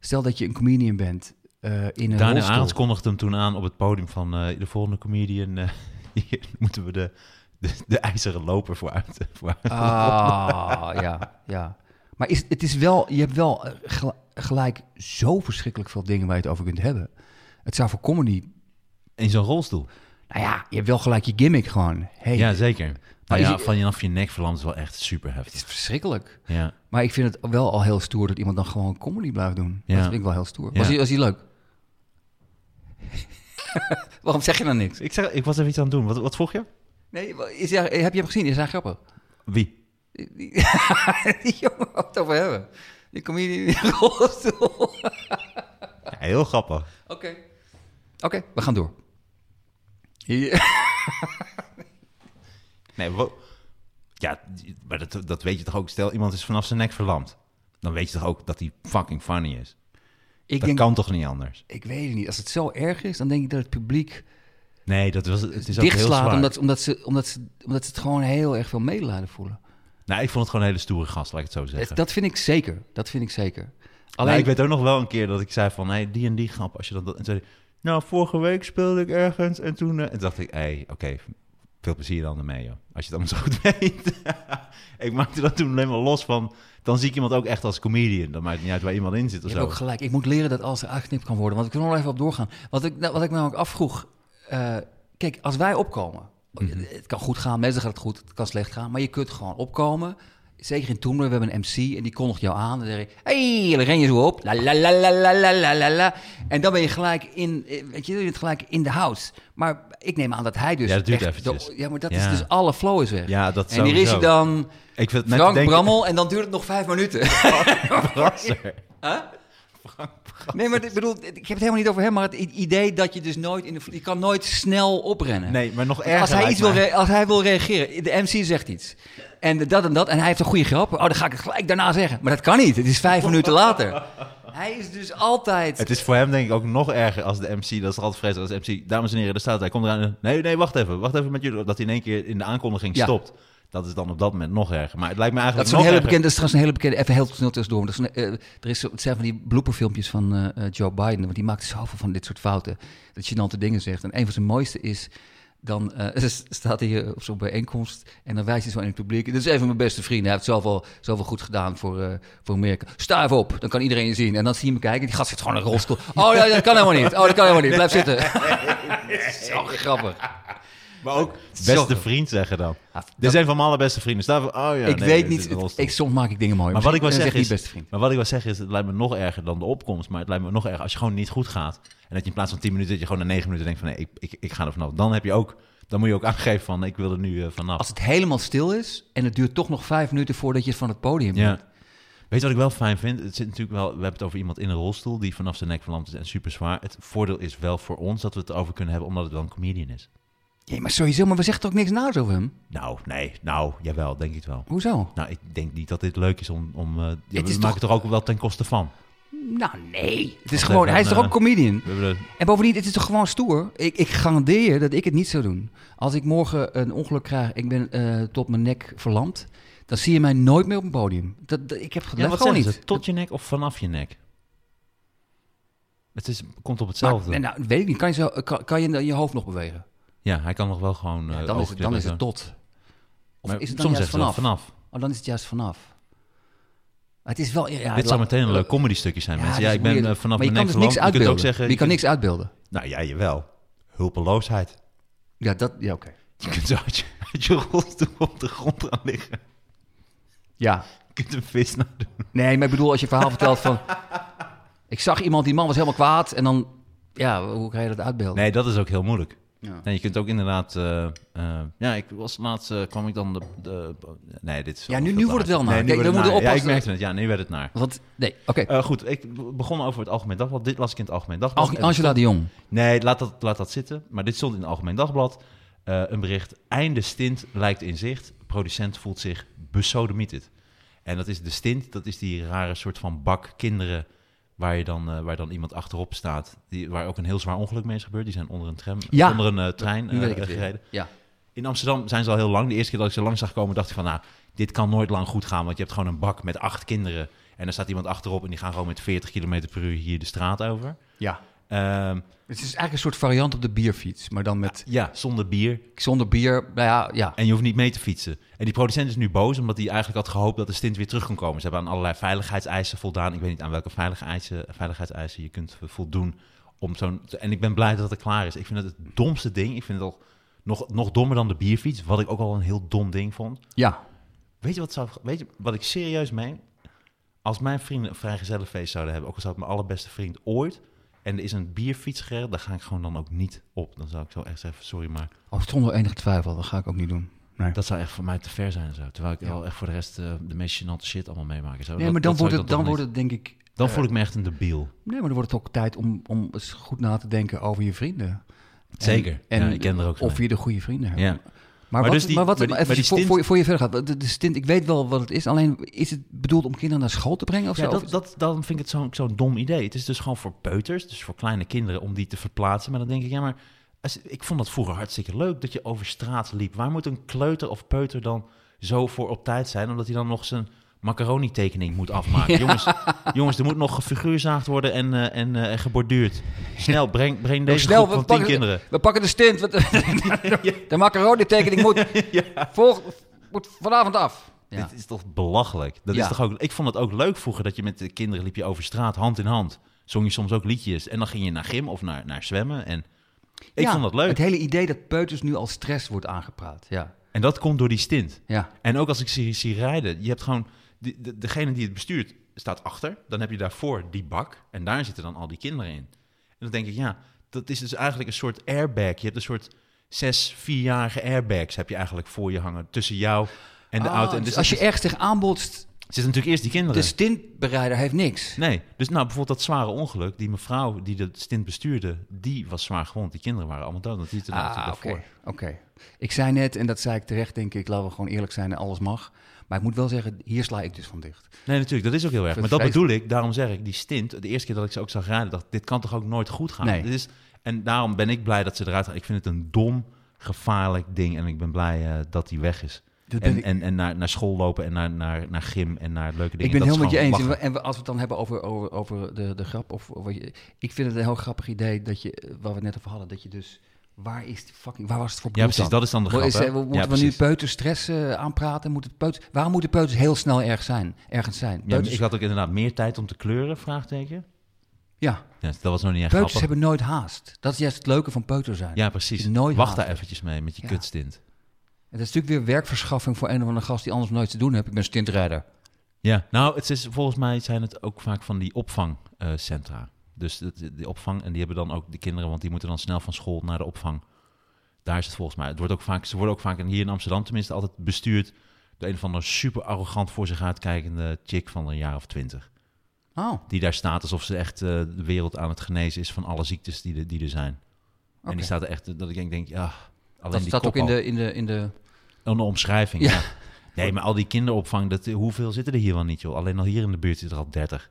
[SPEAKER 2] Stel dat je een comedian bent eh, in een
[SPEAKER 1] Daniel
[SPEAKER 2] rolstoel.
[SPEAKER 1] Arends kondigde hem toen aan op het podium van eh, de volgende comedian. eh, hier moeten we de, de, de ijzeren loper voor uit. Voor uit-
[SPEAKER 2] Ah, ja, ja. Maar is, het is wel, je hebt wel eh, gel- gelijk zo verschrikkelijk veel dingen waar je het over kunt hebben. Het zou voor comedy
[SPEAKER 1] Ah, In zo'n rolstoel.
[SPEAKER 2] Nou ja, je hebt wel gelijk je gimmick gewoon. Hey,
[SPEAKER 1] Ja, zeker. Nou
[SPEAKER 2] is
[SPEAKER 1] ja,
[SPEAKER 2] het-
[SPEAKER 1] vanaf je nek verlamd is wel echt super
[SPEAKER 2] Het
[SPEAKER 1] heftig.
[SPEAKER 2] is verschrikkelijk.
[SPEAKER 1] Ja.
[SPEAKER 2] Maar ik vind het wel al heel stoer dat iemand dan gewoon comedy blijft doen.
[SPEAKER 1] Ja.
[SPEAKER 2] Dat vind ik wel heel stoer.
[SPEAKER 1] Ja.
[SPEAKER 2] Was, hij, was hij leuk? Waarom zeg je dan niks?
[SPEAKER 1] Ik, zeg, ik was even iets aan het doen. Wat, wat vroeg je?
[SPEAKER 2] Nee, wa- is hij, heb je hem gezien? Is hij grappig?
[SPEAKER 1] Wie?
[SPEAKER 2] Die- Die jongen, wat het over hebben. Die comedian in de rolstoel. Oké.
[SPEAKER 1] Ja, heel grappig.
[SPEAKER 2] Oké, we gaan door. Hier-
[SPEAKER 1] Nee, wo- ja, maar dat, dat weet je toch ook. Stel, iemand is vanaf zijn nek verlamd. Dan weet je toch ook dat hij fucking funny is.
[SPEAKER 2] Ik,
[SPEAKER 1] dat
[SPEAKER 2] denk,
[SPEAKER 1] kan toch niet anders?
[SPEAKER 2] ik weet het niet. Als het zo erg is, dan denk ik dat het publiek
[SPEAKER 1] Nee, dat was, het is ook heel
[SPEAKER 2] dichtslaat.
[SPEAKER 1] zwaar.
[SPEAKER 2] Omdat, omdat, ze, omdat, ze, omdat ze het gewoon heel erg veel medelijden voelen.
[SPEAKER 1] Nou, ik vond het gewoon een hele stoere gast, laat ik het zo zeggen.
[SPEAKER 2] Het- Eh, dat vind ik zeker. Dat vind ik zeker.
[SPEAKER 1] Alleen...
[SPEAKER 2] Alleen,
[SPEAKER 1] ik weet ook nog wel een keer dat ik zei van, hey, die en die grap. Als je dan dat... En toen zei hij, nou, vorige week speelde ik ergens en toen... eh," En toen dacht ik, hey, oké, veel plezier dan ermee, joh. Als je het allemaal zo goed weet. ik maakte dat toen alleen maar los van... Dan zie ik iemand ook echt als comedian. Dan maakt het niet uit waar iemand in zit of
[SPEAKER 2] je
[SPEAKER 1] zo.
[SPEAKER 2] hebt ook gelijk. Ik moet leren dat alles eruit geknipt kan worden. Want ik wil er nog even op doorgaan. Wat ik, nou, wat ik me ook afvroeg. eh, kijk, als wij opkomen.
[SPEAKER 1] Mhm.
[SPEAKER 2] Het kan goed gaan. Mensen gaat het goed. Het kan slecht gaan. Maar je kunt gewoon opkomen. Zeker in Toemler, we hebben een MC en die kondigt jou aan. En dan zeg je, hey, dan ren je zo op. La, la, la, la, la, la, la, la, la. En dan ben je gelijk in, eh, weet je, je bent gelijk in de house. Maar ik neem aan dat hij dus
[SPEAKER 1] Ja, dat duurt
[SPEAKER 2] echt de-
[SPEAKER 1] eventjes.
[SPEAKER 2] ja, maar dat is
[SPEAKER 1] Ja.
[SPEAKER 2] dus alle flow is weg.
[SPEAKER 1] Ja, dat
[SPEAKER 2] en hier is hij
[SPEAKER 1] sowieso.
[SPEAKER 2] dan,
[SPEAKER 1] Ik vind het net
[SPEAKER 2] Frank
[SPEAKER 1] denken-
[SPEAKER 2] Brammel, en dan duurt het nog vijf minuten.
[SPEAKER 1] Brasser.
[SPEAKER 2] Nee, maar ik bedoel, ik heb het helemaal niet over hem, maar het i- idee dat je dus nooit in de vlo- je kan nooit snel oprennen.
[SPEAKER 1] Nee, maar nog
[SPEAKER 2] Want
[SPEAKER 1] erger
[SPEAKER 2] als hij,
[SPEAKER 1] lijkt
[SPEAKER 2] iets wil
[SPEAKER 1] mij.
[SPEAKER 2] re- als hij wil reageren, de MC zegt iets. En dat en dat, en hij heeft een goede grap. Oh, dan ga ik het gelijk daarna zeggen. Maar dat kan niet, het is vijf minuten later. Hij is dus altijd...
[SPEAKER 1] Het is voor hem denk ik ook nog erger als de MC. Dat is toch altijd vreselijk als de MC. Dames en heren, daar staat hij. Komt eraan. Nee, nee, wacht even. Wacht even met jullie. Dat hij in één keer in de aankondiging
[SPEAKER 2] Ja.
[SPEAKER 1] stopt. Dat is dan op dat moment nog erger. Maar het lijkt me
[SPEAKER 2] Dat
[SPEAKER 1] eigenlijk
[SPEAKER 2] is, een
[SPEAKER 1] nog
[SPEAKER 2] hele
[SPEAKER 1] erger.
[SPEAKER 2] bekende, dat is trouwens een hele bekende, even heel snel tussendoor. maar Dat is een, eh, er is, zo- het zijn van die blooperfilmpjes van eh, eh, Joe Biden, want die maakt zoveel van dit soort fouten. Dat gênante dingen zegt. En een van zijn mooiste is Dan eh, s- staat hij eh, op zo'n bijeenkomst en dan wijst hij zo in het publiek. Dit is even mijn beste vriend. Hij heeft zoveel, zoveel goed gedaan voor, eh, voor Amerika. Sta even op, dan kan iedereen je zien. En dan zie je hem kijken. Die gast zit gewoon in een rolstoel. Oh, ja, dat kan helemaal niet. Oh, dat kan helemaal niet. Blijf zitten. Zo grappig.
[SPEAKER 1] Maar ook
[SPEAKER 2] Zo.
[SPEAKER 1] beste vriend zeggen dan.
[SPEAKER 2] Ja,
[SPEAKER 1] Dit
[SPEAKER 2] dat-
[SPEAKER 1] zijn van mijn allerbeste vrienden. Staan we- oh ja,
[SPEAKER 2] ik
[SPEAKER 1] nee,
[SPEAKER 2] weet
[SPEAKER 1] dit is
[SPEAKER 2] niet.
[SPEAKER 1] een
[SPEAKER 2] het-
[SPEAKER 1] rolstoel.
[SPEAKER 2] ik, soms maak ik dingen mooi.
[SPEAKER 1] Maar wat ik
[SPEAKER 2] wil
[SPEAKER 1] wil zeggen
[SPEAKER 2] niet
[SPEAKER 1] is,
[SPEAKER 2] beste vriend.
[SPEAKER 1] maar wat ik wil zeggen is, het lijkt me nog erger dan de opkomst, maar het lijkt me nog erger als je gewoon niet goed gaat en dat je in plaats van 10 minuten dat je gewoon na 9 minuten denkt van nee, ik, ik, ik ga er vanaf. Dan heb je ook, dan moet je ook aangeven van ik wil er nu eh, vanaf.
[SPEAKER 2] Als het helemaal stil is en het duurt toch nog vijf minuten voordat je van het podium
[SPEAKER 1] Ja.
[SPEAKER 2] bent.
[SPEAKER 1] Weet je wat ik wel fijn vind? Het zit natuurlijk wel, we hebben het over iemand in een rolstoel die vanaf zijn nek verlamd is en super zwaar. Het voordeel is wel voor ons dat we het erover kunnen hebben omdat het wel een comedian is.
[SPEAKER 2] Ja, maar sowieso, maar we zeggen toch ook niks naars over hem?
[SPEAKER 1] Nou, nee, nou, jawel, denk ik het wel.
[SPEAKER 2] Hoezo?
[SPEAKER 1] Nou, ik denk niet dat dit leuk is om... om eh, ja, we
[SPEAKER 2] is
[SPEAKER 1] maken
[SPEAKER 2] toch-
[SPEAKER 1] het er ook wel ten koste van.
[SPEAKER 2] Nou, nee. Het is
[SPEAKER 1] Wacht
[SPEAKER 2] gewoon,
[SPEAKER 1] even, eh,
[SPEAKER 2] hij is toch
[SPEAKER 1] dan,
[SPEAKER 2] ook comedian?
[SPEAKER 1] We hebben de-
[SPEAKER 2] En bovendien, het is toch gewoon stoer? Ik, ik garandeer je dat ik het niet zou doen. Als ik morgen een ongeluk krijg, ik ben eh, tot mijn nek verlamd, dan zie je mij nooit meer op een podium. Dat, dat- ik heb
[SPEAKER 1] Ja,
[SPEAKER 2] gedacht
[SPEAKER 1] wat
[SPEAKER 2] gewoon
[SPEAKER 1] zeggen
[SPEAKER 2] niet.
[SPEAKER 1] ze? Tot je nek of vanaf je nek? Het is, komt op
[SPEAKER 2] Maar-
[SPEAKER 1] hetzelfde.
[SPEAKER 2] nee, nou, weet ik niet. Kan je, zo, kan, kan je je hoofd nog bewegen?
[SPEAKER 1] ja, hij kan nog wel gewoon...
[SPEAKER 2] Ja,
[SPEAKER 1] eh,
[SPEAKER 2] dan, is het, dan
[SPEAKER 1] oogknippen
[SPEAKER 2] is
[SPEAKER 1] en
[SPEAKER 2] het
[SPEAKER 1] zo.
[SPEAKER 2] tot. Of
[SPEAKER 1] Maar
[SPEAKER 2] is het dan
[SPEAKER 1] soms
[SPEAKER 2] juist
[SPEAKER 1] zeggen
[SPEAKER 2] vanaf?
[SPEAKER 1] ze wel vanaf.
[SPEAKER 2] Oh, dan is het juist vanaf. Het is wel... Ja, ja,
[SPEAKER 1] Dit zou
[SPEAKER 2] la-
[SPEAKER 1] meteen een leuk
[SPEAKER 2] eh,
[SPEAKER 1] comedy stukje zijn. mensen. Ja,
[SPEAKER 2] dus
[SPEAKER 1] ik ben
[SPEAKER 2] moet je-
[SPEAKER 1] eh, vanaf
[SPEAKER 2] Maar je
[SPEAKER 1] mijn
[SPEAKER 2] kan
[SPEAKER 1] nek
[SPEAKER 2] dus niks
[SPEAKER 1] verlamd. Je kunt
[SPEAKER 2] uitbeelden.
[SPEAKER 1] ook zeggen...
[SPEAKER 2] je kan niks uitbeelden.
[SPEAKER 1] Nou ja, jawel. Hulpeloosheid.
[SPEAKER 2] Ja, dat... Ja, oké.
[SPEAKER 1] Je kunt zo uit je, uit je rolstoel op de grond gaan liggen.
[SPEAKER 2] Ja.
[SPEAKER 1] Je kunt een vis naar doen.
[SPEAKER 2] Nee, maar ik bedoel, als je verhaal vertelt van... Ik zag iemand, die man was helemaal kwaad. En dan... Ja, hoe kan je dat uitbeelden?
[SPEAKER 1] Nee, dat is ook heel moeilijk.
[SPEAKER 2] Ja.
[SPEAKER 1] Nee, je kunt ook inderdaad... eh, eh, ja, ik was laatst... eh, kwam ik dan de... de nee, dit is...
[SPEAKER 2] Ja, nu-
[SPEAKER 1] veel
[SPEAKER 2] nu
[SPEAKER 1] te
[SPEAKER 2] wordt het wel
[SPEAKER 1] hard.
[SPEAKER 2] naar.
[SPEAKER 1] Nee, nu
[SPEAKER 2] Kijk,
[SPEAKER 1] wordt het naar.
[SPEAKER 2] dan moeten we
[SPEAKER 1] Ja, ik
[SPEAKER 2] oppassen.
[SPEAKER 1] merkte het. Ja, nu werd het naar.
[SPEAKER 2] Want, nee, oké.
[SPEAKER 1] Eh, goed, ik be- begon over het Algemeen Dagblad. Dit las ik in het Algemeen Dagblad.
[SPEAKER 2] Ang-
[SPEAKER 1] En-
[SPEAKER 2] Angela de Jong.
[SPEAKER 1] Nee, laat dat, laat dat zitten. Maar dit stond in het Algemeen Dagblad. Eh, een bericht. Einde stint lijkt in zicht. Producent voelt zich besodemieterd. En dat is de stint. Dat is die rare soort van bak kinderen... waar, je dan, eh, waar dan iemand achterop staat. Die, waar ook een heel zwaar ongeluk mee is gebeurd. Die zijn onder een, tram,
[SPEAKER 2] Ja.
[SPEAKER 1] onder een eh, trein
[SPEAKER 2] Nu
[SPEAKER 1] eh,
[SPEAKER 2] weet ik het weer.
[SPEAKER 1] gereden.
[SPEAKER 2] Ja.
[SPEAKER 1] In Amsterdam zijn ze al heel lang. De eerste keer dat ik ze langs zag komen, dacht ik van... nou, dit kan nooit lang goed gaan, want je hebt gewoon een bak met acht kinderen... en er staat iemand achterop en die gaan gewoon met 40 km per uur hier de straat over.
[SPEAKER 2] ja.
[SPEAKER 1] Ehm,
[SPEAKER 2] Het is eigenlijk een soort variant op de bierfiets. Maar dan met...
[SPEAKER 1] ja, zonder bier.
[SPEAKER 2] Zonder bier, nou ja, ja.
[SPEAKER 1] En je hoeft niet mee te fietsen. En die producent is nu boos, omdat hij eigenlijk had gehoopt dat de stint weer terug kon komen. Ze hebben aan allerlei veiligheidseisen voldaan. Ik weet niet aan welke veiligheidseisen, veiligheidseisen je kunt voldoen. Om zo'n, en ik ben blij dat het klaar is. Ik vind het het domste ding. Ik vind het al nog, nog dommer dan de bierfiets, wat ik ook al een heel dom ding vond.
[SPEAKER 2] Ja.
[SPEAKER 1] Weet je wat, zou, weet je wat ik serieus meen? Als mijn vrienden een vrijgezellenfeest zouden hebben, ook al zou het mijn allerbeste vriend ooit, en er is een bierfiets gereden, daar ga ik gewoon dan ook niet op. Dan zou ik zo echt zeggen, sorry, maar
[SPEAKER 2] Oh, zonder enige twijfel. Dat ga ik ook niet doen. Nee.
[SPEAKER 1] dat zou echt voor mij te ver zijn en zo. Terwijl ik wel echt voor de rest eh, de meest gênante shit allemaal meemaken zou.
[SPEAKER 2] Nee,
[SPEAKER 1] Dat-
[SPEAKER 2] maar dan,
[SPEAKER 1] dat zou
[SPEAKER 2] wordt
[SPEAKER 1] ik
[SPEAKER 2] het, dan
[SPEAKER 1] toch
[SPEAKER 2] wordt
[SPEAKER 1] niet-
[SPEAKER 2] het denk ik...
[SPEAKER 1] Dan
[SPEAKER 2] eh,
[SPEAKER 1] voel ik me echt een debiel.
[SPEAKER 2] Nee, maar dan wordt het ook tijd om, om eens goed na te denken over je vrienden. En-
[SPEAKER 1] Zeker. Ja, ik ken er ook zo
[SPEAKER 2] Of
[SPEAKER 1] een.
[SPEAKER 2] je de goede vrienden hebt.
[SPEAKER 1] Ja.
[SPEAKER 2] Maar,
[SPEAKER 1] Maar
[SPEAKER 2] wat,
[SPEAKER 1] dus die-
[SPEAKER 2] maar wat,
[SPEAKER 1] maar die-
[SPEAKER 2] even
[SPEAKER 1] maar die
[SPEAKER 2] voor,
[SPEAKER 1] stint-
[SPEAKER 2] voor, voor je verder gaat. De, de stint, ik weet wel wat het is. Alleen is het bedoeld om kinderen naar school te brengen of
[SPEAKER 1] Ja,
[SPEAKER 2] zo?
[SPEAKER 1] dat, dat, dan vind ik het zo'n zo'n dom idee. Het is dus gewoon voor peuters, dus voor kleine kinderen, om die te verplaatsen. Maar dan denk ik, ja, maar als, ik vond dat vroeger hartstikke leuk dat je over straat liep. Waar moet een kleuter of peuter dan zo voor op tijd zijn, omdat hij dan nog zijn macaroni-tekening moet afmaken? Jongens, jongens, er moet nog gefiguurzaagd worden en, eh, en, eh, en geborduurd. Snel, breng, breng
[SPEAKER 2] Nou,
[SPEAKER 1] deze
[SPEAKER 2] snel,
[SPEAKER 1] groep van tien
[SPEAKER 2] pakken de-
[SPEAKER 1] kinderen.
[SPEAKER 2] We pakken de stint. want- De macaroni-tekening moet, volg- moet vanavond af. Ja.
[SPEAKER 1] Dit is toch belachelijk? Dat
[SPEAKER 2] Ja.
[SPEAKER 1] is toch ook, ik vond het ook leuk vroeger dat je met de kinderen liep je over straat hand in hand. Zong je soms ook liedjes. En dan ging je naar gym of naar, naar zwemmen. En ik
[SPEAKER 2] Ja,
[SPEAKER 1] vond dat leuk.
[SPEAKER 2] Het hele idee dat peuters nu als stress wordt aangepraat. Ja.
[SPEAKER 1] En dat komt door die stint.
[SPEAKER 2] ja.
[SPEAKER 1] En ook als ik zie, zie rijden, je hebt gewoon... die- de, degene die het bestuurt staat achter. Dan heb je daarvoor die bak. En daar zitten dan al die kinderen in. En dan denk ik, ja, dat is dus eigenlijk een soort airbag. Je hebt een soort zes, vierjarige airbags heb je eigenlijk voor je hangen. Tussen jou en de
[SPEAKER 2] Ah,
[SPEAKER 1] auto. En
[SPEAKER 2] dus
[SPEAKER 1] dus
[SPEAKER 2] als
[SPEAKER 1] er
[SPEAKER 2] je dus ergens tegen aanbotst,
[SPEAKER 1] zitten natuurlijk eerst die kinderen.
[SPEAKER 2] de stintbereider heeft niks.
[SPEAKER 1] Nee, dus nou bijvoorbeeld dat zware ongeluk, die mevrouw die de stint bestuurde, die was zwaar gewond. Die kinderen waren allemaal dood, want die zitten daar
[SPEAKER 2] Ah,
[SPEAKER 1] natuurlijk
[SPEAKER 2] oké.
[SPEAKER 1] al voor.
[SPEAKER 2] oké. Ik zei net, en dat zei ik terecht, denk ik, laten we gewoon eerlijk zijn en alles mag. Maar ik moet wel zeggen, hier sla ik dus van dicht.
[SPEAKER 1] Nee, natuurlijk, dat is ook heel erg. Maar dat
[SPEAKER 2] Vreselijk.
[SPEAKER 1] bedoel ik, daarom zeg ik, die stint, de eerste keer dat ik ze ook zag rijden, dacht dit kan toch ook nooit goed gaan?
[SPEAKER 2] Nee.
[SPEAKER 1] Dit is, en daarom ben ik blij dat ze eruit gaan. Ik vind het een dom, gevaarlijk ding en ik ben blij eh, dat die weg is.
[SPEAKER 2] Dat ben
[SPEAKER 1] en,
[SPEAKER 2] ik-
[SPEAKER 1] en, en naar, naar school lopen en naar, naar, naar gym en naar leuke dingen.
[SPEAKER 2] ik ben het
[SPEAKER 1] dat
[SPEAKER 2] helemaal met
[SPEAKER 1] is
[SPEAKER 2] je eens.
[SPEAKER 1] gewoon
[SPEAKER 2] En we- En we- als we het dan hebben over, over, over de, de grap, of, of wat je, ik vind het een heel grappig idee dat je, eh, waar we het net over hadden, dat je dus Waar is die fucking... Waar was het voor
[SPEAKER 1] Ja,
[SPEAKER 2] bloed
[SPEAKER 1] precies.
[SPEAKER 2] dan?
[SPEAKER 1] Dat is dan de
[SPEAKER 2] Mo-
[SPEAKER 1] grap,
[SPEAKER 2] is,
[SPEAKER 1] hè?
[SPEAKER 2] eh, we-
[SPEAKER 1] ja,
[SPEAKER 2] moeten we nu peuterstress eh, aanpraten? Moet het peuter, waarom moeten peuters heel snel erg zijn, ergens zijn?
[SPEAKER 1] Ja,
[SPEAKER 2] Peuters,
[SPEAKER 1] ik had ook inderdaad meer tijd om te kleuren, vraagteken.
[SPEAKER 2] ja,
[SPEAKER 1] Ja, dat was nog niet echt
[SPEAKER 2] peuters
[SPEAKER 1] grappig.
[SPEAKER 2] hebben nooit haast. Dat is juist het leuke van peuter zijn.
[SPEAKER 1] Ja, precies.
[SPEAKER 2] die nooit
[SPEAKER 1] Wacht daar
[SPEAKER 2] haast.
[SPEAKER 1] eventjes mee met je
[SPEAKER 2] Ja.
[SPEAKER 1] kutstint.
[SPEAKER 2] Het is natuurlijk weer werkverschaffing voor een of andere gast die anders nooit te doen heeft. Ik ben stintrijder.
[SPEAKER 1] Ja, nou, het is, volgens mij zijn het ook vaak van die opvangcentra. dus de, de opvang, en die hebben dan ook de kinderen, want die moeten dan snel van school naar de opvang. Daar is het volgens mij. Het wordt ook vaak, ze worden ook vaak, en hier in Amsterdam tenminste, altijd bestuurd door een van de super arrogant voor zich uitkijkende chick van een jaar of twintig.
[SPEAKER 2] Oh,
[SPEAKER 1] Die daar staat alsof ze echt eh, de wereld aan het genezen is van alle ziektes die, er- die er zijn. En
[SPEAKER 2] Oké.
[SPEAKER 1] die staat er echt, dat ik denk, denk ja, alleen
[SPEAKER 2] dat
[SPEAKER 1] die
[SPEAKER 2] staat
[SPEAKER 1] kop
[SPEAKER 2] ook in
[SPEAKER 1] al.
[SPEAKER 2] de, in de, in de...
[SPEAKER 1] Oh, Een omschrijving,
[SPEAKER 2] Ja.
[SPEAKER 1] ja. Nee, maar al die kinderopvang, dat, hoeveel zitten er hier wel niet, joh? Alleen al hier in de buurt zitten er al 30. Dat is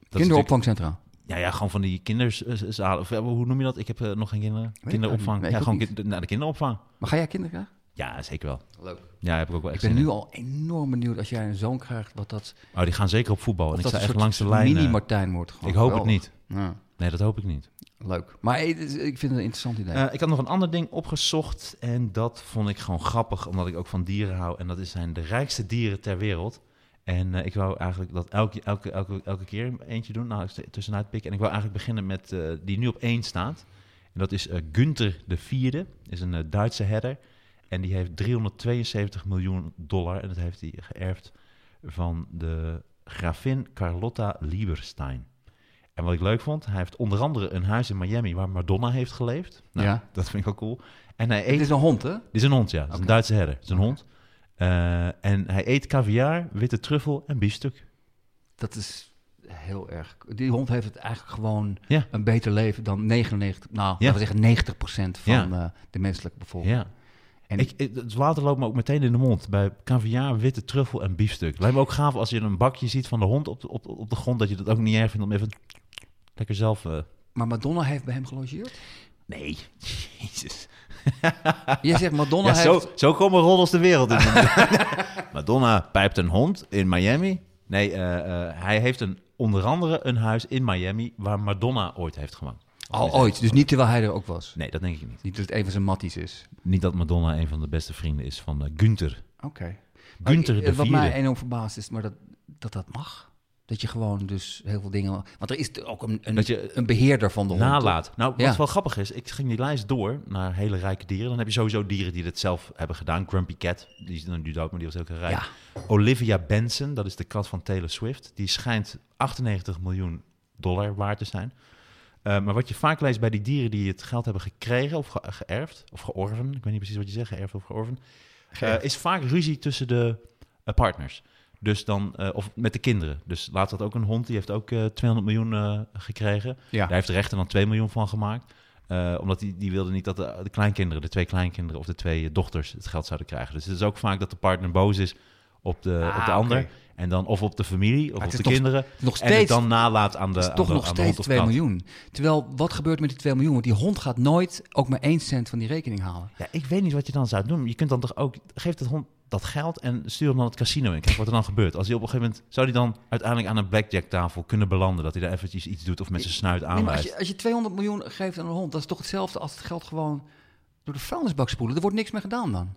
[SPEAKER 1] natuurlijk-
[SPEAKER 2] kinderopvangcentra.
[SPEAKER 1] Ja, ja, gewoon van die kinderzalen. Of, eh, hoe noem je dat? Ik heb eh, nog geen kinderen.
[SPEAKER 2] ik
[SPEAKER 1] kinderopvang.
[SPEAKER 2] niet. Nee,
[SPEAKER 1] ja,
[SPEAKER 2] ik ook
[SPEAKER 1] gewoon kind- naar de kinderopvang.
[SPEAKER 2] Maar ga jij kinderen krijgen?
[SPEAKER 1] Ja, zeker wel.
[SPEAKER 2] Leuk.
[SPEAKER 1] Ja, heb ik ook wel
[SPEAKER 2] Ik
[SPEAKER 1] echt
[SPEAKER 2] ben
[SPEAKER 1] zin
[SPEAKER 2] nu
[SPEAKER 1] in.
[SPEAKER 2] al enorm benieuwd als jij een zoon krijgt, wat dat...
[SPEAKER 1] Oh, die gaan zeker op voetbal.
[SPEAKER 2] of
[SPEAKER 1] En ik
[SPEAKER 2] dat
[SPEAKER 1] sta
[SPEAKER 2] een
[SPEAKER 1] echt
[SPEAKER 2] soort
[SPEAKER 1] langs de lijn. eh,
[SPEAKER 2] Mini-Martijn wordt gewoon.
[SPEAKER 1] ik hoop het
[SPEAKER 2] Geweldig.
[SPEAKER 1] niet.
[SPEAKER 2] Ja,
[SPEAKER 1] Nee, dat hoop ik niet.
[SPEAKER 2] leuk. Maar eh, dit is- ik vind het een interessant idee.
[SPEAKER 1] Eh, ik had nog een ander ding opgezocht en dat vond ik gewoon grappig, omdat ik ook van dieren hou. En dat is- zijn de rijkste dieren ter wereld. En eh, ik wou eigenlijk dat elke, elke, elke, elke keer eentje doen, nou ik st- tussenuit pikken. En ik wou eigenlijk beginnen met eh, die nu op één staat. En dat is eh, Günther de Vierde, is een eh, Duitse herder. En die heeft 372 miljoen dollar en dat heeft hij geërfd van de gravin Carlotta Lieberstein. En wat ik leuk vond, hij heeft onder andere een huis in Miami waar Madonna heeft geleefd. Nou,
[SPEAKER 2] Ja.
[SPEAKER 1] Dat vind ik wel cool. En hij
[SPEAKER 2] het
[SPEAKER 1] eet...
[SPEAKER 2] is een hond, hè?
[SPEAKER 1] Dit is een hond, ja. Het is
[SPEAKER 2] Oké.
[SPEAKER 1] een Duitse herder. Het is een hond. Eh, en hij eet caviar, witte truffel en biefstuk.
[SPEAKER 2] Dat is heel erg. Die hond heeft het eigenlijk gewoon
[SPEAKER 1] Ja.
[SPEAKER 2] een beter leven dan 99, nou,
[SPEAKER 1] Ja.
[SPEAKER 2] laten we zeggen 90% van
[SPEAKER 1] Ja.
[SPEAKER 2] eh, de menselijke bevolking.
[SPEAKER 1] Ja. En
[SPEAKER 2] En-
[SPEAKER 1] ik, ik- het water loopt me ook meteen in de mond bij caviar, witte truffel en biefstuk. Lijkt me ook gaaf als je een bakje ziet van de hond op de, op, op de grond, dat je dat ook niet erg vindt om even lekker zelf... eh,
[SPEAKER 2] Maar Madonna heeft bij hem gelogeerd?
[SPEAKER 1] Nee, jezus.
[SPEAKER 2] Jij zegt Madonna
[SPEAKER 1] Ja, zo,
[SPEAKER 2] heeft...
[SPEAKER 1] zo komen roddels de wereld in. Madonna pijpt een hond in Miami. Nee, eh, eh, hij heeft een, onder andere een huis in Miami waar Madonna ooit heeft gewoond.
[SPEAKER 2] Al ooit, dus niet terwijl hij er ook was.
[SPEAKER 1] Nee, dat denk ik niet.
[SPEAKER 2] Niet dat het een van zijn matties is.
[SPEAKER 1] Niet dat Madonna een van de beste vrienden is van eh, Gunther.
[SPEAKER 2] Oké. Maar
[SPEAKER 1] Gunther
[SPEAKER 2] ik-
[SPEAKER 1] de
[SPEAKER 2] Wat
[SPEAKER 1] Vierde.
[SPEAKER 2] mij enorm verbaasd is, maar dat, dat dat mag. Dat je gewoon dus heel veel dingen... Want er is ook een, een,
[SPEAKER 1] Dat je-
[SPEAKER 2] een beheerder van de hond.
[SPEAKER 1] Nalaat. Nou, wat
[SPEAKER 2] Ja.
[SPEAKER 1] wel grappig is, ik ging die lijst door naar hele rijke dieren. Dan heb je sowieso dieren die dat zelf hebben gedaan. Grumpy Cat, die is dan nu dood, maar die was heel erg rijk.
[SPEAKER 2] Ja.
[SPEAKER 1] Olivia Benson, dat is de kat van Taylor Swift. Die schijnt 98 miljoen dollar waard te zijn. Eh, maar wat je vaak leest bij die dieren die het geld hebben gekregen of ge- geërfd of georven, ik weet niet precies wat je zegt, geërfd of georven, eh, is vaak ruzie tussen de eh, partners. Dus dan, eh, of met de kinderen. Dus laat dat ook een hond, die heeft ook eh 200 miljoen eh, gekregen.
[SPEAKER 2] Ja.
[SPEAKER 1] Daar heeft de rechter dan 2 miljoen van gemaakt. Eh, omdat die, die wilde niet dat de, de kleinkinderen, de twee kleinkinderen of de twee eh, dochters het geld zouden krijgen. Dus het is ook vaak dat de partner boos is op de,
[SPEAKER 2] Ah,
[SPEAKER 1] op de ander.
[SPEAKER 2] oké.
[SPEAKER 1] En dan of op de familie of
[SPEAKER 2] het eh,
[SPEAKER 1] op
[SPEAKER 2] is
[SPEAKER 1] de
[SPEAKER 2] nog-
[SPEAKER 1] kinderen.
[SPEAKER 2] Nog
[SPEAKER 1] en het
[SPEAKER 2] steeds
[SPEAKER 1] dan nalaat aan de
[SPEAKER 2] Dat is
[SPEAKER 1] aan
[SPEAKER 2] toch
[SPEAKER 1] de-
[SPEAKER 2] nog
[SPEAKER 1] aan de
[SPEAKER 2] steeds
[SPEAKER 1] hond of
[SPEAKER 2] 2
[SPEAKER 1] kat.
[SPEAKER 2] miljoen. Terwijl, wat gebeurt met die 2 miljoen? Want die hond gaat nooit ook maar 1 cent van die rekening halen.
[SPEAKER 1] Ja, ik weet niet wat je dan zou doen. Je kunt dan toch ook... Geef dat hond dat geld en stuur hem dan het casino in. Kijk wat er dan gebeurt. Als hij op een gegeven moment... Zou hij dan uiteindelijk aan een blackjack tafel kunnen belanden? Dat hij daar eventjes iets doet of met zijn snuit
[SPEAKER 2] Nee, maar
[SPEAKER 1] aanwijst?
[SPEAKER 2] als, je, als je 200 miljoen geeft aan een hond, dat is toch hetzelfde als het geld gewoon door de vuilnisbak spoelen. Er wordt niks mee gedaan dan.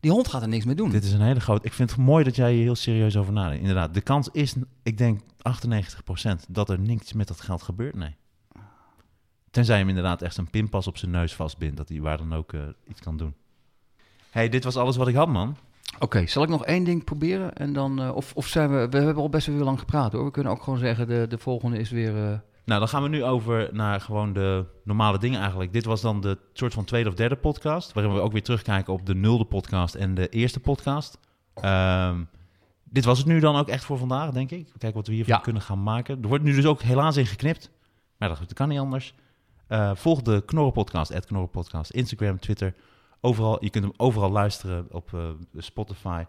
[SPEAKER 2] Die hond gaat er niks mee doen.
[SPEAKER 1] Dit is een hele grote... Ik vind het mooi dat jij hier heel serieus over nadenkt. Inderdaad, de kans is, ik denk, 98% dat er niks met dat geld gebeurt. Nee. Tenzij je hem inderdaad echt een pinpas op zijn neus vastbindt. Dat hij waar dan ook eh, iets kan doen. hey, dit was alles wat ik had, man.
[SPEAKER 2] Oké, zal ik nog één ding proberen? En dan, eh, of, of zijn we, we hebben al best wel heel lang gepraat hoor. We kunnen ook gewoon zeggen, de, de volgende is weer... eh,
[SPEAKER 1] Nou, dan gaan we nu over naar gewoon de normale dingen eigenlijk. Dit was dan de soort van tweede of derde podcast. Waarin we ook weer terugkijken op de nulde podcast en de eerste podcast. Ehm, dit was het nu dan ook echt voor vandaag, denk ik. Kijken wat we hiervan
[SPEAKER 2] Ja.
[SPEAKER 1] kunnen gaan maken. Er wordt nu dus ook helaas in geknipt. Maar dat, dat kan niet anders. Eh, volg de Knorren Podcast, at Knorren Podcast, Instagram, Twitter. Overal, je kunt hem overal luisteren op eh, Spotify,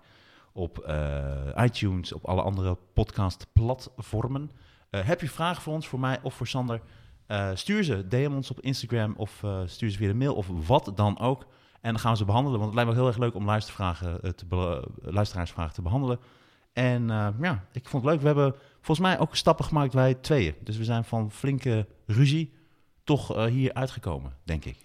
[SPEAKER 1] op eh, iTunes, op alle andere podcastplatformen. Eh, heb je vragen voor ons, voor mij of voor Sander? eh, stuur ze, DM ons op Instagram of eh, stuur ze via de mail of wat dan ook. En dan gaan we ze behandelen, want het lijkt me heel erg leuk om luistervragen, eh, te be- luisteraarsvragen te behandelen. En eh, ja, ik vond het leuk. We hebben volgens mij ook stappen gemaakt wij tweeën. Dus we zijn van flinke ruzie toch eh, hier uitgekomen, denk ik.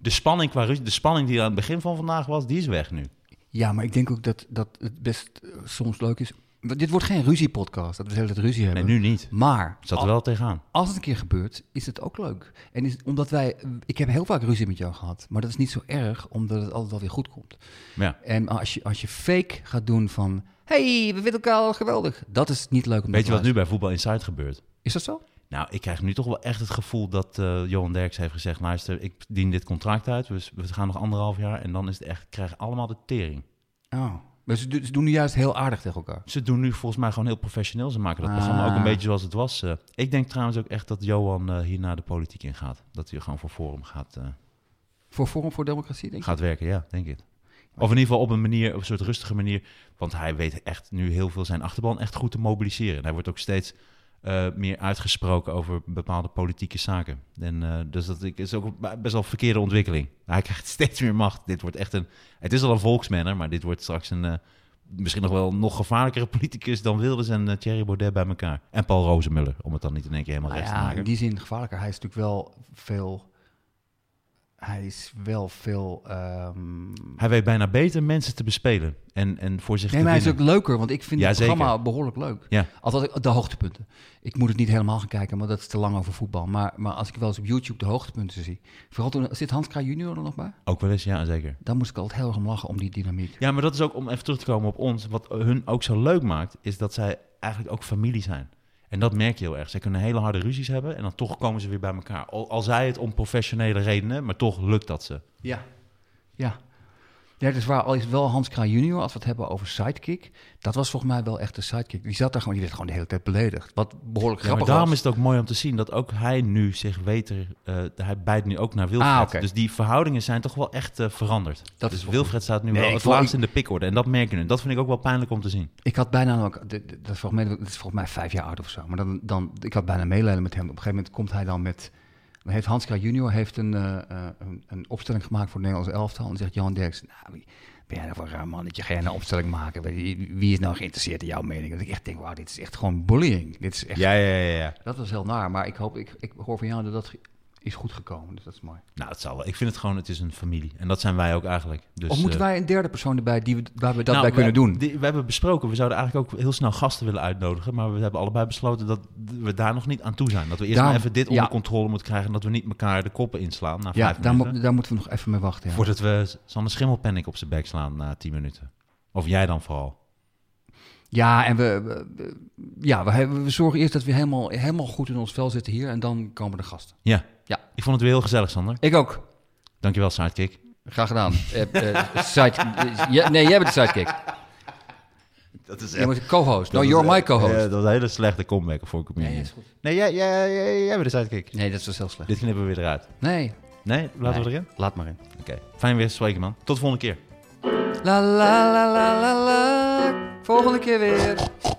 [SPEAKER 1] De spanning, qua ruzie, de spanning die er aan het begin van vandaag was, die is weg nu.
[SPEAKER 2] Ja, maar ik denk ook dat, dat het best eh, soms leuk is. Want Dit wordt geen ruziepodcast, dat we de hele tijd ruzie
[SPEAKER 1] Nee,
[SPEAKER 2] hebben.
[SPEAKER 1] nu niet.
[SPEAKER 2] Maar
[SPEAKER 1] Ik zat er wel tegenaan.
[SPEAKER 2] als het een keer gebeurt, is het ook leuk. En is, omdat wij, ik heb heel vaak ruzie met jou gehad, maar dat is niet zo erg, omdat het altijd wel weer goed komt.
[SPEAKER 1] Ja.
[SPEAKER 2] En als je, als je fake gaat doen van, hey, we vinden elkaar al geweldig, dat is niet leuk om
[SPEAKER 1] Weet
[SPEAKER 2] te
[SPEAKER 1] je wat nu
[SPEAKER 2] luisteren.
[SPEAKER 1] bij Voetbal Inside gebeurt?
[SPEAKER 2] Is dat zo?
[SPEAKER 1] Nou, ik krijg nu toch wel echt het gevoel dat eh, Johan Derks heeft gezegd... luister, ik dien dit contract uit, dus we gaan nog anderhalf jaar... en dan is het echt, ik krijg allemaal de tering.
[SPEAKER 2] Oh. Maar ze, do- ze doen nu juist heel aardig tegen elkaar.
[SPEAKER 1] Ze doen nu volgens mij gewoon heel professioneel. Ze maken dat
[SPEAKER 2] Ah.
[SPEAKER 1] programma ook een beetje zoals het was. eh. ik denk trouwens ook echt dat Johan eh hierna de politiek ingaat. Dat hij gewoon voor Forum gaat, eh,
[SPEAKER 2] Voor Forum voor Democratie, denk ik.
[SPEAKER 1] gaat werken, ja, denk ik. Of in ieder geval op een manier, op een soort rustige manier. Want hij weet echt nu heel veel zijn achterban echt goed te mobiliseren. En hij wordt ook steeds eh, meer uitgesproken over bepaalde politieke zaken. En eh, dus dat ik- is ook een best wel een verkeerde ontwikkeling. Hij krijgt steeds meer macht. Dit wordt echt een. Het is al een volksmanner, maar dit wordt straks een. eh, misschien nog wel een nog gevaarlijkere politicus dan Wilders en eh, Thierry Baudet bij elkaar. En Paul Rozemuller, om het dan niet in één keer helemaal
[SPEAKER 2] Nou
[SPEAKER 1] recht
[SPEAKER 2] ja,
[SPEAKER 1] te maken.
[SPEAKER 2] in die zin gevaarlijker. Hij is natuurlijk wel veel... Hij is wel veel... ehm,
[SPEAKER 1] Hij weet bijna beter mensen te bespelen en, en voor zich
[SPEAKER 2] Nee,
[SPEAKER 1] te
[SPEAKER 2] maar hij is
[SPEAKER 1] winnen.
[SPEAKER 2] ook leuker, want ik vind
[SPEAKER 1] Ja,
[SPEAKER 2] het
[SPEAKER 1] zeker.
[SPEAKER 2] programma behoorlijk leuk.
[SPEAKER 1] Ja.
[SPEAKER 2] Althans, de hoogtepunten. Ik moet het niet helemaal gaan kijken, maar dat is te lang over voetbal. Maar, maar als ik wel eens op YouTube de hoogtepunten zie... Vooral toen... Zit Hans Kraaij junior er nog bij?
[SPEAKER 1] Ook wel eens, ja, zeker.
[SPEAKER 2] Daar moest ik altijd heel erg om lachen, om die dynamiek.
[SPEAKER 1] Ja, maar dat is ook om even terug te komen op ons. Wat hun ook zo leuk maakt, is dat zij eigenlijk ook familie zijn. En dat merk je heel erg. Zij kunnen hele harde ruzies hebben en dan toch komen ze weer bij elkaar. Al, al zij het om professionele redenen, maar toch lukt dat ze.
[SPEAKER 2] Ja. Ja. Ja, dat is waar. Al is het wel Hans Kraaij junior, als we het hebben over sidekick. Dat was volgens mij wel echt de sidekick. Die zat daar gewoon, die werd gewoon de hele tijd beledigd. Wat behoorlijk
[SPEAKER 1] Ja, maar
[SPEAKER 2] grappig
[SPEAKER 1] daarom
[SPEAKER 2] was.
[SPEAKER 1] is het ook mooi om te zien dat ook hij nu zich beter... eh, hij bijt nu ook naar Wilfred.
[SPEAKER 2] Ah, oké.
[SPEAKER 1] Dus die verhoudingen zijn toch wel echt eh, veranderd.
[SPEAKER 2] Dat
[SPEAKER 1] dus
[SPEAKER 2] is wel
[SPEAKER 1] Wilfred staat nu
[SPEAKER 2] Nee,
[SPEAKER 1] wel
[SPEAKER 2] ik
[SPEAKER 1] het
[SPEAKER 2] vond-
[SPEAKER 1] laatst in de pikorde. En dat merk je nu. Dat vind ik ook wel pijnlijk om te zien.
[SPEAKER 2] Ik had bijna ook, dit- dit- dat is volgens mij, dat is volgens mij vijf jaar oud of zo. Maar dan, dan, ik had bijna meelijden met hem. Op een gegeven moment komt hij dan met, dan heeft Hans Kraaij junior heeft een, eh, eh, een, een opstelling gemaakt voor het Nederlands elftal. En zegt Johan Derks, nou, wie, ben jij nou voor een raar mannetje? Ga jij nou een opstelling maken? Wie wie is nou geïnteresseerd in jouw mening? Dat ik echt denk, wauw, dit is echt gewoon bullying. Dit is echt
[SPEAKER 1] Ja, ja, ja. ja.
[SPEAKER 2] Dat was heel naar, maar ik, hoop, ik, ik hoor van jou dat dat is goed gekomen. Dus dat is mooi.
[SPEAKER 1] Nou, het zal wel. Ik vind het gewoon, het is een familie. En dat zijn wij ook eigenlijk. Dus,
[SPEAKER 2] of moeten
[SPEAKER 1] eh,
[SPEAKER 2] wij een derde persoon erbij die we, waar we dat
[SPEAKER 1] Nou,
[SPEAKER 2] bij kunnen
[SPEAKER 1] we-
[SPEAKER 2] doen?
[SPEAKER 1] die- we hebben besproken, we zouden eigenlijk ook heel snel gasten willen uitnodigen. Maar we hebben allebei besloten dat we daar nog niet aan toe zijn. Dat we eerst
[SPEAKER 2] Daarom-
[SPEAKER 1] maar even dit onder
[SPEAKER 2] ja.
[SPEAKER 1] controle moeten krijgen. En dat we niet elkaar de koppen inslaan na
[SPEAKER 2] ja,
[SPEAKER 1] vijf
[SPEAKER 2] daar,
[SPEAKER 1] minuten.
[SPEAKER 2] mo- daar moeten we nog even mee wachten. ja.
[SPEAKER 1] Voordat we Sander Schimmelpanic op zijn bek slaan na tien minuten. Of jij dan vooral.
[SPEAKER 2] Ja, en we, we- we- ja, we, hebben- we zorgen eerst dat we helemaal, helemaal goed in ons vel zitten hier en dan komen de gasten.
[SPEAKER 1] Ja.
[SPEAKER 2] Ja.
[SPEAKER 1] Ik vond het weer heel gezellig, Sander.
[SPEAKER 2] Ik ook.
[SPEAKER 1] Dankjewel, sidekick.
[SPEAKER 2] Graag gedaan. Eh, eh, side, eh, ja, nee, jij bent de sidekick.
[SPEAKER 1] Dat is
[SPEAKER 2] Je bent de co-host. No, nou, you're my co-host.
[SPEAKER 1] dat was een hele slechte comeback voor comedian.
[SPEAKER 2] Nee, is goed.
[SPEAKER 1] Nee, jij, jij, jij, jij bent de sidekick.
[SPEAKER 2] Nee, dat is wel heel slecht.
[SPEAKER 1] Dit knippen we weer eruit.
[SPEAKER 2] Nee,
[SPEAKER 1] Nee, laten we
[SPEAKER 2] Nee.
[SPEAKER 1] erin?
[SPEAKER 2] laat maar in.
[SPEAKER 1] Oké. Fijn weer te spreken, man. Tot de volgende keer.
[SPEAKER 2] La la la la la la. Volgende keer weer.